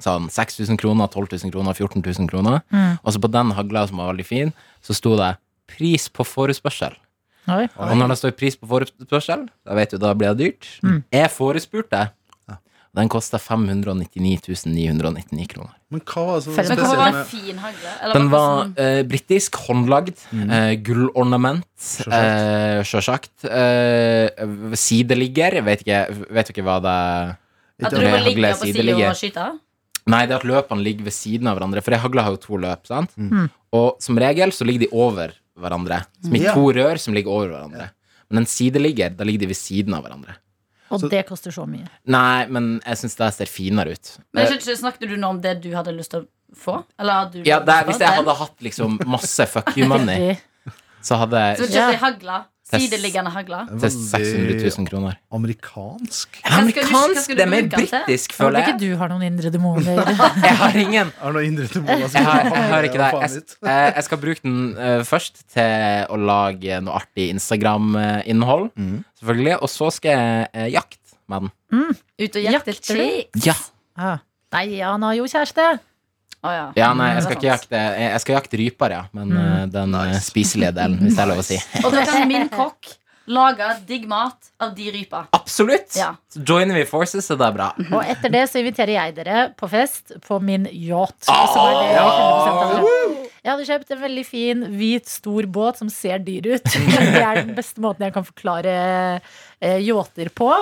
E: Sånn 6000 kroner, 12 000 kroner, 14 000 kroner. Og så på den hagla som var veldig fin, så sto det 'pris på forespørsel'.
G: Oi.
E: Og når det står 'pris på forespørsel', da vet du, da blir det dyrt. Jeg forespurte. Den kosta 599 999 kroner.
D: Men hva var det som
G: Selv
D: var
G: om
D: spesielt
I: Men hvorfor var det
D: med
I: en fin hagle? Eller
E: Den
I: var
E: var
I: det sånn-
E: eh, britisk, håndlagd, eh, gullornament, eh, sjølsagt. Eh, sideligger, jeg vet ikke, vet ikke hva det
I: At du
E: den
I: må
E: hagla
I: ligge på siden
E: sideligger.
I: og skyte?
E: Nei, det er at løpene ligger ved siden av hverandre. For ei hagle har jo to løp. sant? Og som regel så ligger de over hverandre. Som i
D: Ja.
E: to rør som ligger over hverandre. Men en sideligger, da ligger de ved siden av hverandre.
G: Og det koster så mye.
E: Nei, men jeg syns det ser finere ut.
I: Men
E: Eh,
I: jeg skjønner ikke, Snakket du nå om det du hadde lyst til å få? Eller hadde du
E: Ja, det, er-
I: lyst
E: Hvis
I: til
E: jeg
I: å få den?
E: hadde hatt liksom masse fuck you money,
G: Riktig.
E: så hadde
I: Så
E: jeg
I: kjøpte jeg hagla.
E: Test.
I: Sideliggende hagla.
E: til 600 000 kroner.
D: amerikansk?
I: Hva skal du- hva skal
E: Amerikansk!
I: du
E: Det er mer
I: bruke den til?
E: britisk,
G: Håper
E: føler
G: ikke
E: jeg.
G: du har noen indre demoner.
E: Jeg har ingen
D: Er det noe indre til Mola
F: altså.
D: som
E: Jeg har, jeg har ikke det.
D: Faen
E: Jeg,
D: litt.
E: eh, jeg skal bruke den eh, først til å lage noe artig Instagram-innhold, selvfølgelig. Og så skal jeg eh, jakte med den.
I: Ut og jakte
G: Jakter du?
I: chick.
E: Ja.
G: Ah. Nei, han har jo kjæreste.
I: Å ja.
E: nei, jeg skal
I: Sant.
E: ikke jakte Jeg jeg skal jakte ryper, ja.
I: Mm.
E: Men eh, den eh, spiselige delen, hvis det er lov å si.
I: Og da kan min kokk lage digg mat av de rypa.
E: Absolutt!
I: Ja.
E: Så joiner vi forces, så det er bra.
G: Og etter det så inviterer jeg dere på fest på min yacht. som er det 100% av det. Jeg hadde kjøpt en veldig fin, hvit, stor båt som ser dyr ut. Det er den beste måten jeg kan forklare eh, yachter på.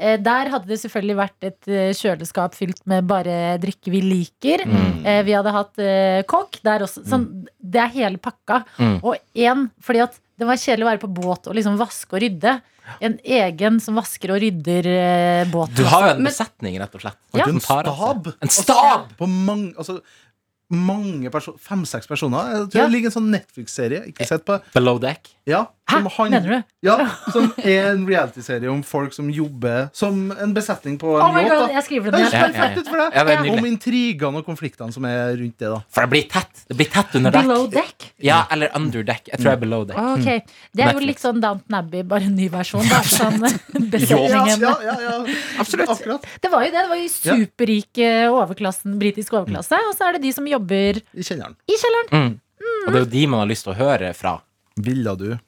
G: Eh, Der hadde det selvfølgelig vært et eh, kjøleskap fylt med bare drikke vi liker. Eh, Vi hadde hatt eh, kokk der også. Sånn, det er hele pakka.
E: Mm.
G: Og én, fordi at det var kjedelig å være på båt og liksom vaske og rydde. En egen som vasker og rydder eh, båten.
E: Du har jo en
I: Men-
E: besetning, rett og slett.
G: Ja.
E: Som
D: En
E: tar altså. av seg.
D: stab?
E: En stab!
D: På mange, altså, mange personer Fem-seks personer. Jeg tror
G: Ja.
D: det ligger en sånn Netflix-serie Ikke sett på
E: Below deck.
D: ja,
G: Hæ?
D: som han-
G: Mener du?
D: Ja, som er en reality-serie om folk som jobber som en besetning på en
G: Oh my
D: yacht.
G: god,
D: da.
G: jeg skriver
D: Det
G: det
D: høres
E: Ja,
G: ned.
E: ja, ja.
D: perfekt ut for deg.
E: Ja, det er
D: om
E: nydelig.
D: intrigene og konfliktene som er rundt det. da
E: For det blir tett. Det blir tett under
G: Below
E: dekk.
G: deck. Ah,
E: Ja, eller under deck. Jeg tror jeg er below deck.
G: Ok,
D: Mm.
G: Det er jo
E: Netflix.
G: litt sånn Downton Abbey, bare en ny versjon. Da. Sånn besetningen.
D: Ja, ja, ja, ja. Akkurat.
G: Det var jo det. Det var jo superrike overklassen, britisk overklasse. Og så er det de som jobber
D: I kjelleren.
G: i kjelleren.
E: Mm. Og det er jo de man har lyst til å høre fra.
D: Ville du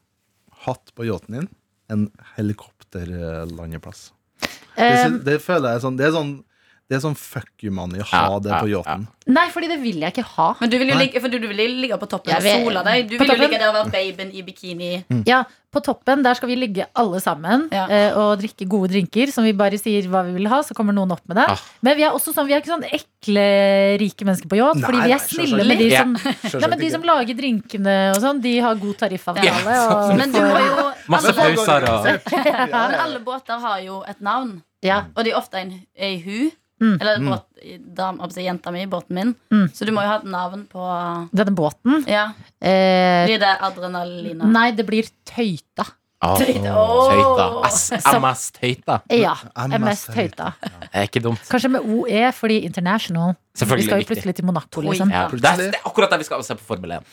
D: hatt på yachten din en helikopterlandeplass? Det,
G: Eh,
D: sy- det føler jeg er sånn Det er sånn, det er sånn fuck you money å ha
E: Ja,
D: det
E: ja,
D: på yachten.
G: nei, fordi det vil jeg ikke ha.
I: Men du vil jo ligge, for du, du vil jo ligge på toppen
G: Jeg
I: og
G: vil-
I: sola deg. Du
G: på
I: vil jo
G: toppen.
I: ligge der og være babyen i bikini.
D: Mm.
G: Ja, På toppen der skal vi ligge alle sammen
I: Ja.
G: eh, og drikke gode drinker. Som vi bare sier hva vi vil ha, så kommer noen opp med det.
E: Ah.
G: Men vi er også sånn, vi er ikke sånn ekle rike mennesker på yacht,
D: Nei,
G: fordi vi
D: nei,
G: er snille
D: selvsagt
G: med de
E: ikke.
G: som, nei, men de som lager drinkene og sånn. De har god tariffavtale.
E: Ja.
G: og
I: Men du må jo
E: Masse
I: alle,
E: pauser og
I: men alle båter har jo et navn.
G: Ja.
I: Og det er ofte en, ei hu.
G: Mm.
I: Eller båt, dam, altså jenta mi, båten min.
G: Mm.
I: Så du må jo ha et navn på
G: Denne båten
I: Ja,
G: eh,
I: blir det adrenalina?
G: Nei, det blir Tøyta.
E: Åh,
I: Tøyta. Åh.
E: Tøyta. S- MS Tøyta.
G: Ja,
D: MS
G: MS Tøyta.
E: Det er ikke dumt.
G: Kanskje med OE, fordi international. Vi
E: Selvfølgelig
G: skal jo
E: viktig.
G: plutselig til Monaco,
I: Oi.
G: liksom.
E: Ja, det, er, det er akkurat der vi skal se på Formel 1.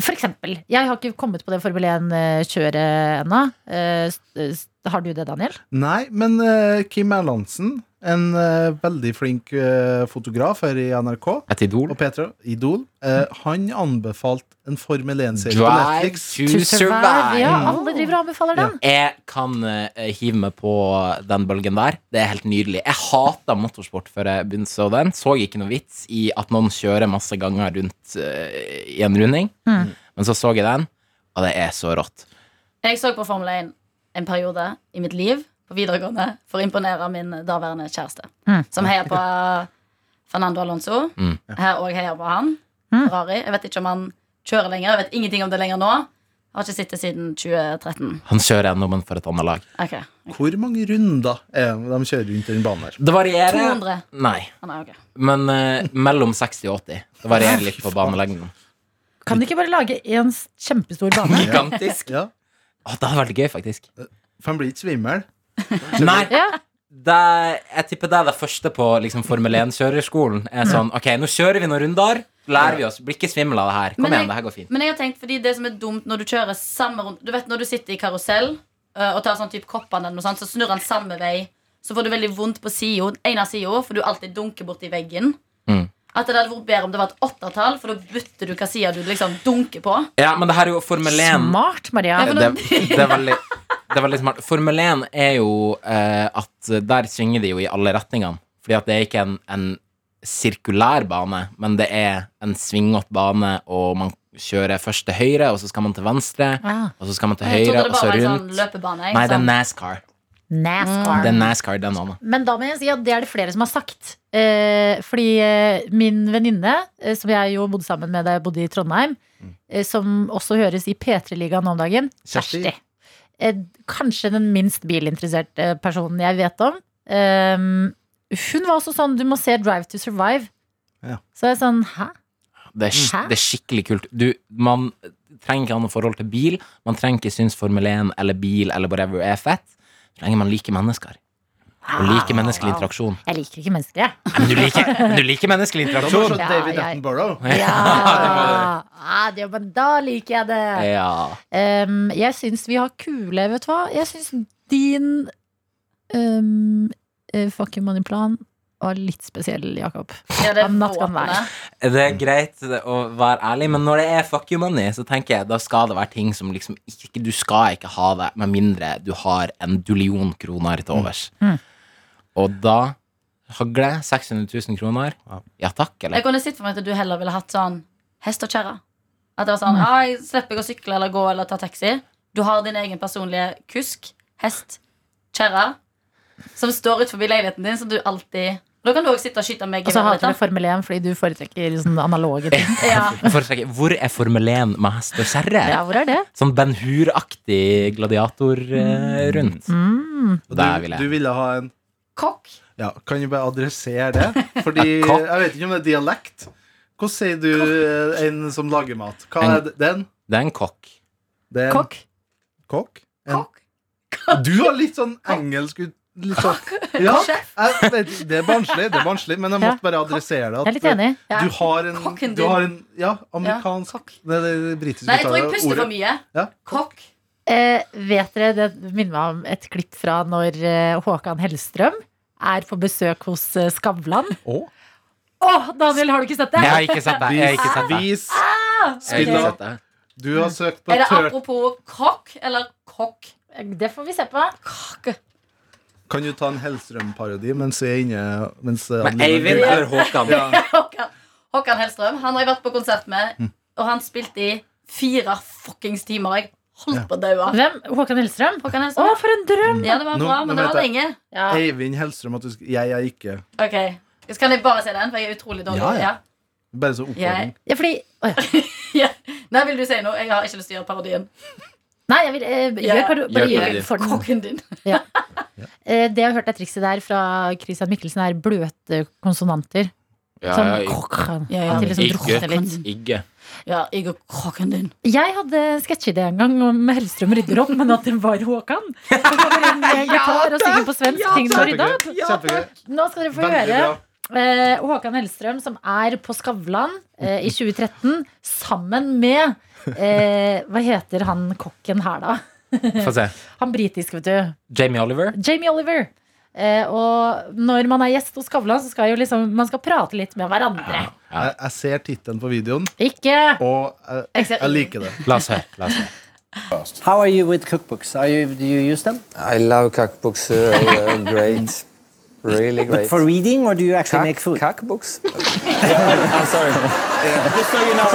G: For eksempel. Jeg har ikke kommet på det Formel 1-kjøret ennå. Eh, s- s- Har du det, Daniel?
D: Nei, men eh, Kim Erlandsen, en eh, veldig flink eh, fotograf her i NRK
E: Et idol.
D: og Petra, Idol, eh, han anbefalte en Formel 1-serie på
E: Drive
D: Netflix.
E: to survive.
G: Ja, alle driver og anbefaler den.
E: Jeg kan eh, hive meg på den bølgen der. Det er helt nydelig. Jeg hata motorsport før jeg begynte å se den. Så ikke noe vits i at noen kjører masse ganger rundt eh, i en runding.
G: Mm.
E: Men så så jeg den, og det er så rått.
I: Jeg så på Formel 1 en periode i mitt liv på videregående for å imponere min daværende kjæreste,
G: Mm.
I: som heier på Fernando Alonso.
E: Mm.
I: Her òg heier på han.
G: Mm.
I: Ferrari. Jeg vet ikke om han kjører lenger. Jeg vet ingenting om det lenger nå. Jeg har ikke sett det siden 2013.
E: Han kjører ennå, men for et annet lag.
I: Ok,
D: Hvor mange runder er det de kjører rundt den banen her?
E: Det varierer.
I: 200.
E: Nei.
I: Ah, nei, ok.
E: Men eh, mellom 60 og 80. Det varierer litt på banelengden.
G: Kan de ikke bare lage en s- kjempestor bane?
E: Gigantisk.
D: Ja,
E: Å, det hadde vært gøy, faktisk.
D: For han blir ikke svimmel.
E: Nei,
G: Ja.
E: det, jeg tipper det er det første på liksom, Formel 1-kjørerskolen. Er sånn,
I: Mm.
E: ok, nå kjører vi noen runder. Lærer vi oss. Blir ikke svimmel av det her. Kom
I: Men jeg-
E: igjen, det her går fint.
I: Men jeg har tenkt, fordi det som er dumt når du kjører samme rundt Du vet når du sitter i karusell eh, og tar sånn type koppene eller noe sånt, så snurrer han samme vei. Så får du veldig vondt på siden, en av sida, for du alltid dunker borti veggen.
E: Mm.
I: At det hadde vært bedre om det var et åttetall, for da bytter du hva side du liksom dunker på.
E: Ja, men det her er jo Formel 1.
G: Smart, Maria.
E: Det, det, er veldig, det er veldig smart. Formel 1 er jo eh, at der svinger de jo i alle retningene. Fordi at det er ikke en, en sirkulær bane, men det er en svingete bane, og man kjører først til høyre, og så skal man til venstre,
G: Ah,
E: og så skal man til
I: Jeg
E: høyre,
I: trodde
E: og
I: det
E: så
I: bare var en
E: rundt.
I: sånn løpebane. jeg,
E: Nei, det er
I: sånn.
E: NASCAR.
G: NASCAR.
E: Det
I: Mm.
E: er NASCAR, den banen.
G: Men da må jeg si at det er det flere som har sagt. Eh, fordi eh, min venninne, eh, som jeg jo bodde sammen med da jeg bodde i Trondheim,
E: Mm.
G: eh, som også høres i P3-ligaen nå om dagen,
E: Kjersti.
G: Kjersti. Eh, kanskje den minst bilinteresserte personen jeg vet om. Eh, hun var også sånn Du må se Drive to Survive.
F: Ja.
G: Så jeg er sånn Hæ?
E: Det er, sk-
G: Hæ?
E: det er skikkelig kult. Du, man trenger ikke ha noe forhold til bil. Man trenger ikke synes Formel 1 eller bil eller whatever er fett. Så lenge man liker mennesker. Og liker menneskelig interaksjon.
G: Jeg liker ikke mennesker,
E: Nei,
G: jeg.
E: Ah, Men du liker, men du liker menneskelig
F: Må se
E: interaksjon.
G: Ja,
F: David
G: jeg-
F: Attenborough.
G: Ja, ja det, men da liker jeg
E: Eh,
G: det.
E: Ja.
G: Ehm, jeg syns vi har kule, vet du hva? Jeg syns din um, fucking moneyplan var litt spesiell, Jakob.
I: Ja, det er
G: I'm not gonna lie.
I: våpenet.
E: Det er greit å være ærlig, men når det er fuck you money, så tenker jeg da skal det være ting som liksom ikke Du skal ikke ha det med mindre du har en dullion kroner til overs.
G: Mm.
E: Og da hagle 600 000 kroner. Ja takk,
I: Jeg
E: eller?
I: kunne sett for meg at du heller ville hatt sånn hest og kjerre. At det var sånn, ah, jeg slipper ikke å sykle eller gå eller ta taxi. Du har din egen personlige kusk, hest, kjerre, som står utenfor leiligheten din, som du alltid Da kan du også sitte og skyte meg i
G: Og så Altså, hater
I: hodet.
G: du Formel 1 fordi du foretrekker sånn analoge ting.
I: Ja.
E: Jeg foretrekker- Hvor er Formel 1 med hest og kjerre?
G: Ah. Ja, hvor er det?
E: Sånn Ben Hur-aktig gladiator eh, rundt.
G: Mm.
F: Og
E: Der
F: Du,
E: vil jeg.
F: du ville ha en
I: Kokk.
F: Ja, kan vi bare adressere det? Fordi
E: Kokk.
F: jeg vet ikke om det er dialekt. Hvordan sier du eh, en som lager mat? Hva
E: En-
F: er det- den?
E: Det er en kokk.
F: Det er en
G: Kokk.
F: kokk. En-
I: Kokk.
F: Du har litt sånn engelsk ut... Litt sånn. Ja, jeg vet, ikke, det er barnslig, det er barnslig, men jeg
G: Ja.
F: måtte bare adressere det.
G: Jeg er litt enig.
I: Ja.
F: Du har en,
I: Kokken
F: du
I: din.
F: har en Ja,
I: Ja,
F: amerikansk
I: kokk.
F: Det er det britiske
I: Nei, jeg tror jeg
F: uttalen,
I: puster
F: ordet.
I: for mye.
F: Ja.
I: Kokk.
G: Eh, vet dere, det minner meg om et klipp fra når eh, Håkan Hellstrøm er på besøk hos eh, Skavlan. Å,
F: Å.
G: Daniel, har du ikke sett det?
E: Jeg har ikke sett det. Jeg har ikke sett det.
F: Vis,
E: Jeg har ikke
F: spiller
E: sett det.
F: Du har søkt på
I: Er det
F: tørt
I: apropos kokk eller kokk?
G: Eh, Det får vi se på.
F: Kan du ta en Hellstrøm-parodi mens vi er inne mens eh,
E: Men
F: Adeline-
E: Eivind eller Håkan?
I: Håkan, Håkan Hellstrøm. Han har jeg vært på konsert med,
F: Mm.
I: og han spilte i fire fuckings timer. Jeg holdt på å daue.
G: Hvem? Håkan Hellstrøm?
I: Håkan
G: Å,
I: Hellstrøm.
G: for en drøm!
I: Ja, det var
F: Nå-
I: bra,
F: nå
I: men det
F: vet
I: var
F: jeg.
I: lenge.
G: Ja.
F: Eivind Hellstrøm at du skal Jeg er ikke
I: Ok, så Kan jeg bare si den, for jeg er utrolig dårlig?
F: Ja,
I: Ja,
F: ja. Bare så oppfordring.
G: Ja, fordi Å, ja.
I: Nei, vil du si noe? Jeg har ikke lyst til å gjøre parodien.
G: Nei, jeg vil eh,
I: Ja, ja.
G: gjør paro- bare
E: Gjør
G: gjør
E: parodi.
G: for den.
I: Kokken din.
G: Eh, Det jeg har hørt er trikset der fra Christian Mikkelsen, er bløte konsonanter. Sånn kokk.
I: Ja, ja.
G: Til liksom
E: Ikke.
G: drukne litt.
E: Igge.
I: Ja, jeg og kokken din.
G: Jeg hadde en sketsjeidé en gang om Hellstrøm rydder opp, men at det var Håkan. Som kommer inn med en eh, gitar og synger på svensk ting som rydda opp.
F: Kjempegøy. Kjempegøy.
G: Nå skal dere få
F: Veldig
G: høre
F: bra.
G: eh, Håkan Hellstrøm, som er på Skavlan eh, i 2013, sammen med eh, Hva heter han kokken her, da?
E: Få se.
G: Han britisk, vet du.
E: Jamie Oliver.
G: Jamie Oliver. Eh, og når man er gjest hos Skavlan, så skal jo liksom, man skal prate litt med hverandre.
E: Ja.
F: Jeg, jeg ser tittelen på videoen,
G: Ikke
F: og jeg,
I: Jeg ser
F: jeg liker det.
E: La oss høre. La oss høre.
J: How are you with cookbooks? Are you, do you use them?
B: I love cookbooks. Uh, uh, great, really great.
J: For reading, or do you actually
B: Cock-
J: make food?
B: cookbooks. I'm sorry. Just so you know,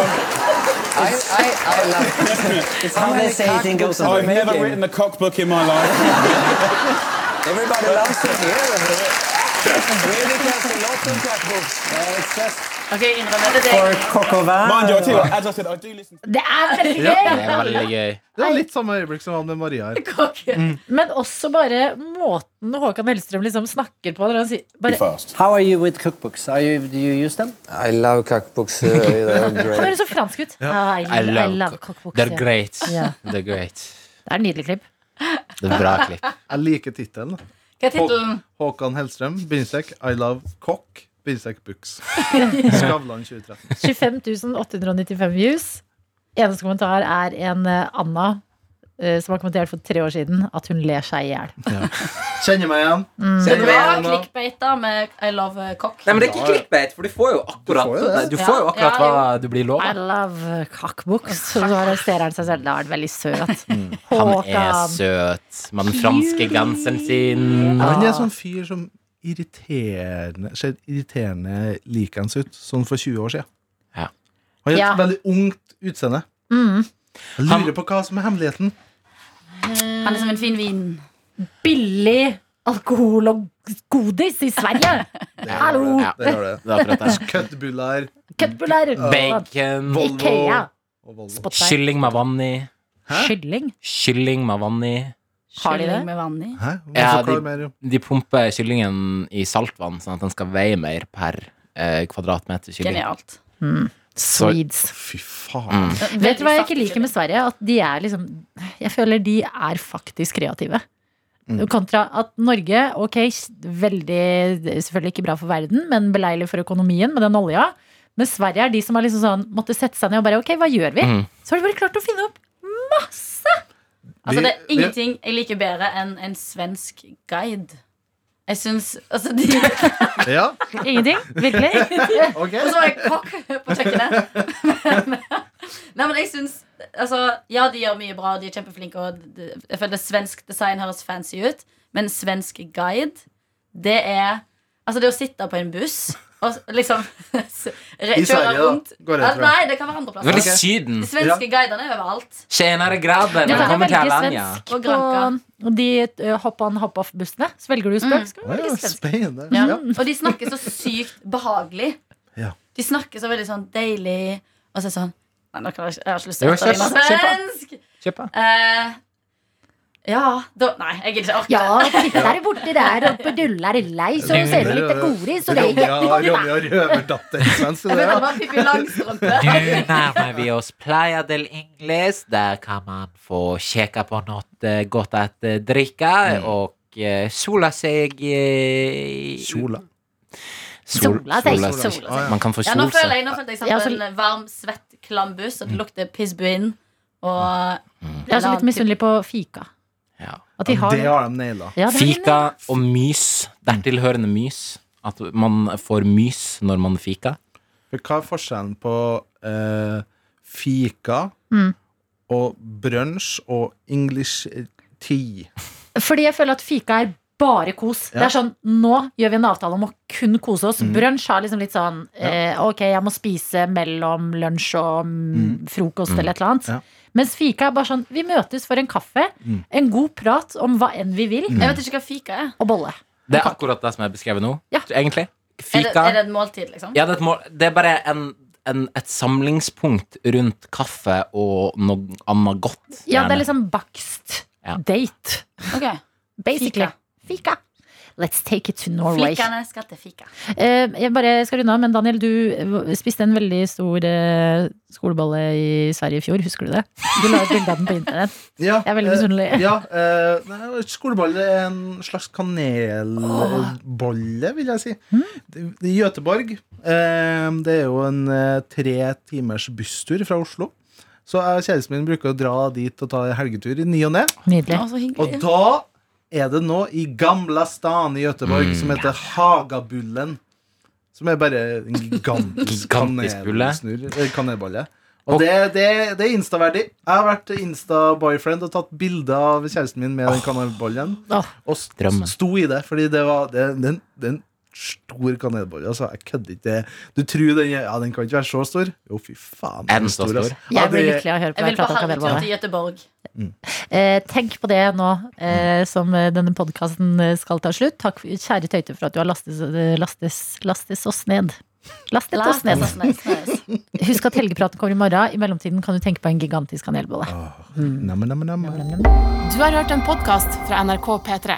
B: I, I, I love.
J: It's how they say anything goes on.
B: I've never written
H: a cookbook in my life.
B: Everybody loves to hear. Really, there's a lot of cookbooks. Uh, it's just
I: Ok, jeg innrømmer det. det
J: Or
I: er jeg.
J: coq au vin.
H: Mind you, I tell you what, as I said, I do listen to
G: Det er veldig gøy!
E: Det er veldig gøy.
F: Det var litt samme øyeblikk som jeg hadde med Maria her.
I: Kokken.
G: Men også bare måten Håkan Hellstrøm liksom snakker på. Når han sier, bare,
H: first.
J: How are you with cookbooks? Are you, do you use them?
B: I love cookbooks. Uh, uh,
G: han
B: great.
G: høres så fransk ut. Ah, I,
E: I
G: love, I love
E: love
G: cookbooks,
E: They're
G: ja.
E: great.
G: Ja.
E: They're great.
G: Det er en nydelig klipp.
E: Det er bra klipp.
F: Jeg liker tittelen.
I: Hva er tittelen?
F: Håkan Hellstrøm, bindestrek I love cock, bindestrek books. Skavlan 2013.
G: 25 895 views. Eneste kommentar er en eh, Anna eh, som har kommentert for tre år siden, at hun ler seg i hjel.
F: Kjenner meg igjen.
G: Mm.
I: Men du
F: Kjenner meg
I: er
F: igjen. nå.
I: clickbait da med I love eh, cock.
B: Nei, men det er ikke clickbait, for du får jo akkurat,
I: jo det.
B: du får jo
I: Ja,
B: akkurat
I: ja,
B: hva du blir
G: I
B: lova.
G: love cockbooks. Så arresterer han seg selv. Det har vært veldig søt.
E: Mm. Han er
G: Håkan.
E: søt. Med den franske genseren sin.
F: Han er sånn fyr som irriterende ser irriterende likens ut, sånn for 20 år siden.
E: Ja.
F: Han har et
G: Ja.
F: veldig ungt utseende.
G: Mm.
F: Jeg lurer på hva som er hemmeligheten.
I: Han er som en fin vin.
G: Billig alkohol og godis i Sverige! Hallo!
E: Ja,
F: Det gjør
E: det er akkurat det.
F: Køddbuller,
G: Køddbuller!
E: Bacon.
F: Volvo
G: Ikea.
F: og Volvo.
G: Spotify.
E: Kylling med vann i.
G: Kylling?
E: Kylling med vann i.
G: Har de det?
I: Kylling med vann i.
F: Hæ?
E: Ja,
F: Forklar
E: de-
F: mer om-
E: De pumper kyllingen i saltvann, sånn at den skal veie mer per eh, kvadratmeter kylling.
I: Genialt.
E: Så-
G: Swedes.
F: Fy faen.
G: Vet du hva jeg ikke liker med Sverige? At de er liksom Jeg føler de er faktisk kreative. Kontra at Norge, ok, veldig Selvfølgelig ikke bra for verden, men beleilig for økonomien med den olja. Men Sverige er de som har liksom sånn måtte sette seg ned og bare Ok, hva gjør vi?
E: Mm.
G: Så har de bare klart å finne opp masse!
I: Altså, det er
F: Vi- vi-
I: ingenting jeg liker bedre enn en svensk guide. Jeg syns Altså, de Og
F: Ja,
G: Ingenting? Virkelig?
F: ok.
I: så var jeg kokk på kjøkkenet. Men- Nei, men jeg syns Altså, ja, de gjør mye bra, de er kjempeflinke, og d- jeg føler svensk design høres fancy ut, men svensk guide, det er Altså, det å sitte på en buss og s- liksom s- re-
F: I Sverige,
I: kjøre
F: da.
I: rundt
F: Går det,
I: Ja,
F: tror jeg.
I: Nei, det kan være andre
E: Det var litt
I: plasser.
E: Syden.
I: De svenske guidene er overalt.
E: Tjenere graden,
G: Ja, det er
E: velkommen til
G: veldig
E: Alanya.
G: svensk.
I: Og Granka.
G: Og de eh, hopp on, hopp off-bussene. Så velger du spøk, skal du
F: Å ja,
G: velge svensk.
F: spennende.
I: Ja.
F: Ja.
I: Og de snakker så sykt behagelig.
F: Ja.
I: De snakker så veldig sånn deilig, og så er det sånn Nei, nå kan jeg, ikke- jeg har ikke lyst
E: Jo,
I: til å
E: kjør-
I: snakke
E: kjør
I: svensk!
E: Kjøpa.
I: Eh, ja da, Nei, jeg gidder ikke.
G: Ja,
I: Jeg orker.
G: tittar borti der oppe, duller i lei, så ser du litt godis, og det er
F: Ronja,
G: jättegott.
F: Ronja Røverdatter. Svensk, det
I: Jeg føler
F: ja.
I: det var Pippi Langstrømpe.
E: Du nærmer vi oss Playa del Ingles. Der kan man få kikke på noe godt å drikke og eh, sola seg eh,
F: Kjola.
E: Sol-
G: Sola seg.
E: sola
G: Sola
F: seg.
E: Man kan få
I: Ja, nå
E: sol
I: føler
E: seg.
I: jeg, nå følte jeg satt
G: Ja, altså-
I: på
G: så-
I: en varm, svett, klam buss, og det lukter pissbuin. Og
G: Jeg er også litt misunnelig på fika.
E: Ja.
G: At de
F: Ja,
G: har
F: Det har de naila.
G: Ja, det Mm. har de
E: Fika og mys. Dertilhørende mys. At man får mys når man fiker.
F: For Hva er forskjellen på eh, fika
G: Mm.
F: og brunsj og English eh, tea?
G: med. Fordi jeg føler at fika er bare kos. Det er sånn, Nå gjør vi en avtale om å kun kose oss. Brunsj har liksom litt sånn eh, Ok, jeg må spise mellom lunsj og mm, frokost eller et eller annet.
F: Ja.
G: Mens fika er bare sånn Vi møtes for en kaffe, en god prat om hva enn vi vil,
I: jeg vet ikke hva fika er.
G: og bolle.
E: Det er akkurat det som er beskrevet nå,
G: Ja.
E: egentlig.
I: Er det,
E: Fika
I: er det et måltid, liksom?
E: Ja, det er, et mål, det er bare en, en, et samlingspunkt rundt kaffe og noe annet godt.
G: Ja,
E: gjerne.
G: det er liksom bakst.
E: Ja.
G: Date.
I: Ok.
G: Basically. Fika. Let's take it to Norway.
I: Flikene skal til fika.
G: Eh, Jeg bare skal runde av, men Daniel, du eh, spiste en veldig stor eh, skolebolle i Sverige i fjor. Husker du det? Du la ut bilde av den på internett.
F: Ja,
G: Jeg er veldig
F: eh,
G: misunnelig.
F: Ja, eh, nei, skolebolle er en slags kanelbolle, vil jeg si.
G: Mm.
F: Det det er Göteborg. Eh, det er jo en eh, tre timers busstur fra Oslo. Så jeg og kjæresten min bruker å dra dit og ta en helgetur i ny og ne.
G: Nydelig.
I: Å, så
F: Og
I: hyggelig.
F: da er det nå i Gamla Stan i Göteborg som heter Hagabullen. Som er bare en gigantisk,
E: Gigantisk bulle.
F: kanelsnurr- eh, kanelbolle. Og det, det, det er instaverdig. Jeg har vært insta-boyfriend og tatt bilde av kjæresten min med den kanelbollen.
G: Åh,
F: Og s-
E: drømmen.
F: sto i det, fordi det var det, det, er en- det er en stor kanelbolle. Altså, jeg kødder ikke. Det- Du tror den, er- ja, den kan ikke være så stor? Jo, fy faen. den
E: Er den så stor?
F: altså. Ja,
G: Jeg blir
F: det-
G: lykkelig av å høre på
I: Jeg vil
G: deg
I: på
G: prate om
I: herretur
G: kanelbolle.
I: til Göteborg.
G: Eh, tenk på det nå eh, som eh, denne podkasten skal ta slutt. Takk, kjære Tøyte, for at du har lastes, eh, lastes, lastes oss ned. Lastet oss ned. Husk at helgepraten kommer i morgen. I mellomtiden kan du tenke på en gigantisk kanelbolle.
F: Nam, nam, nam.
A: Du har hørt en podkast fra NRK P3.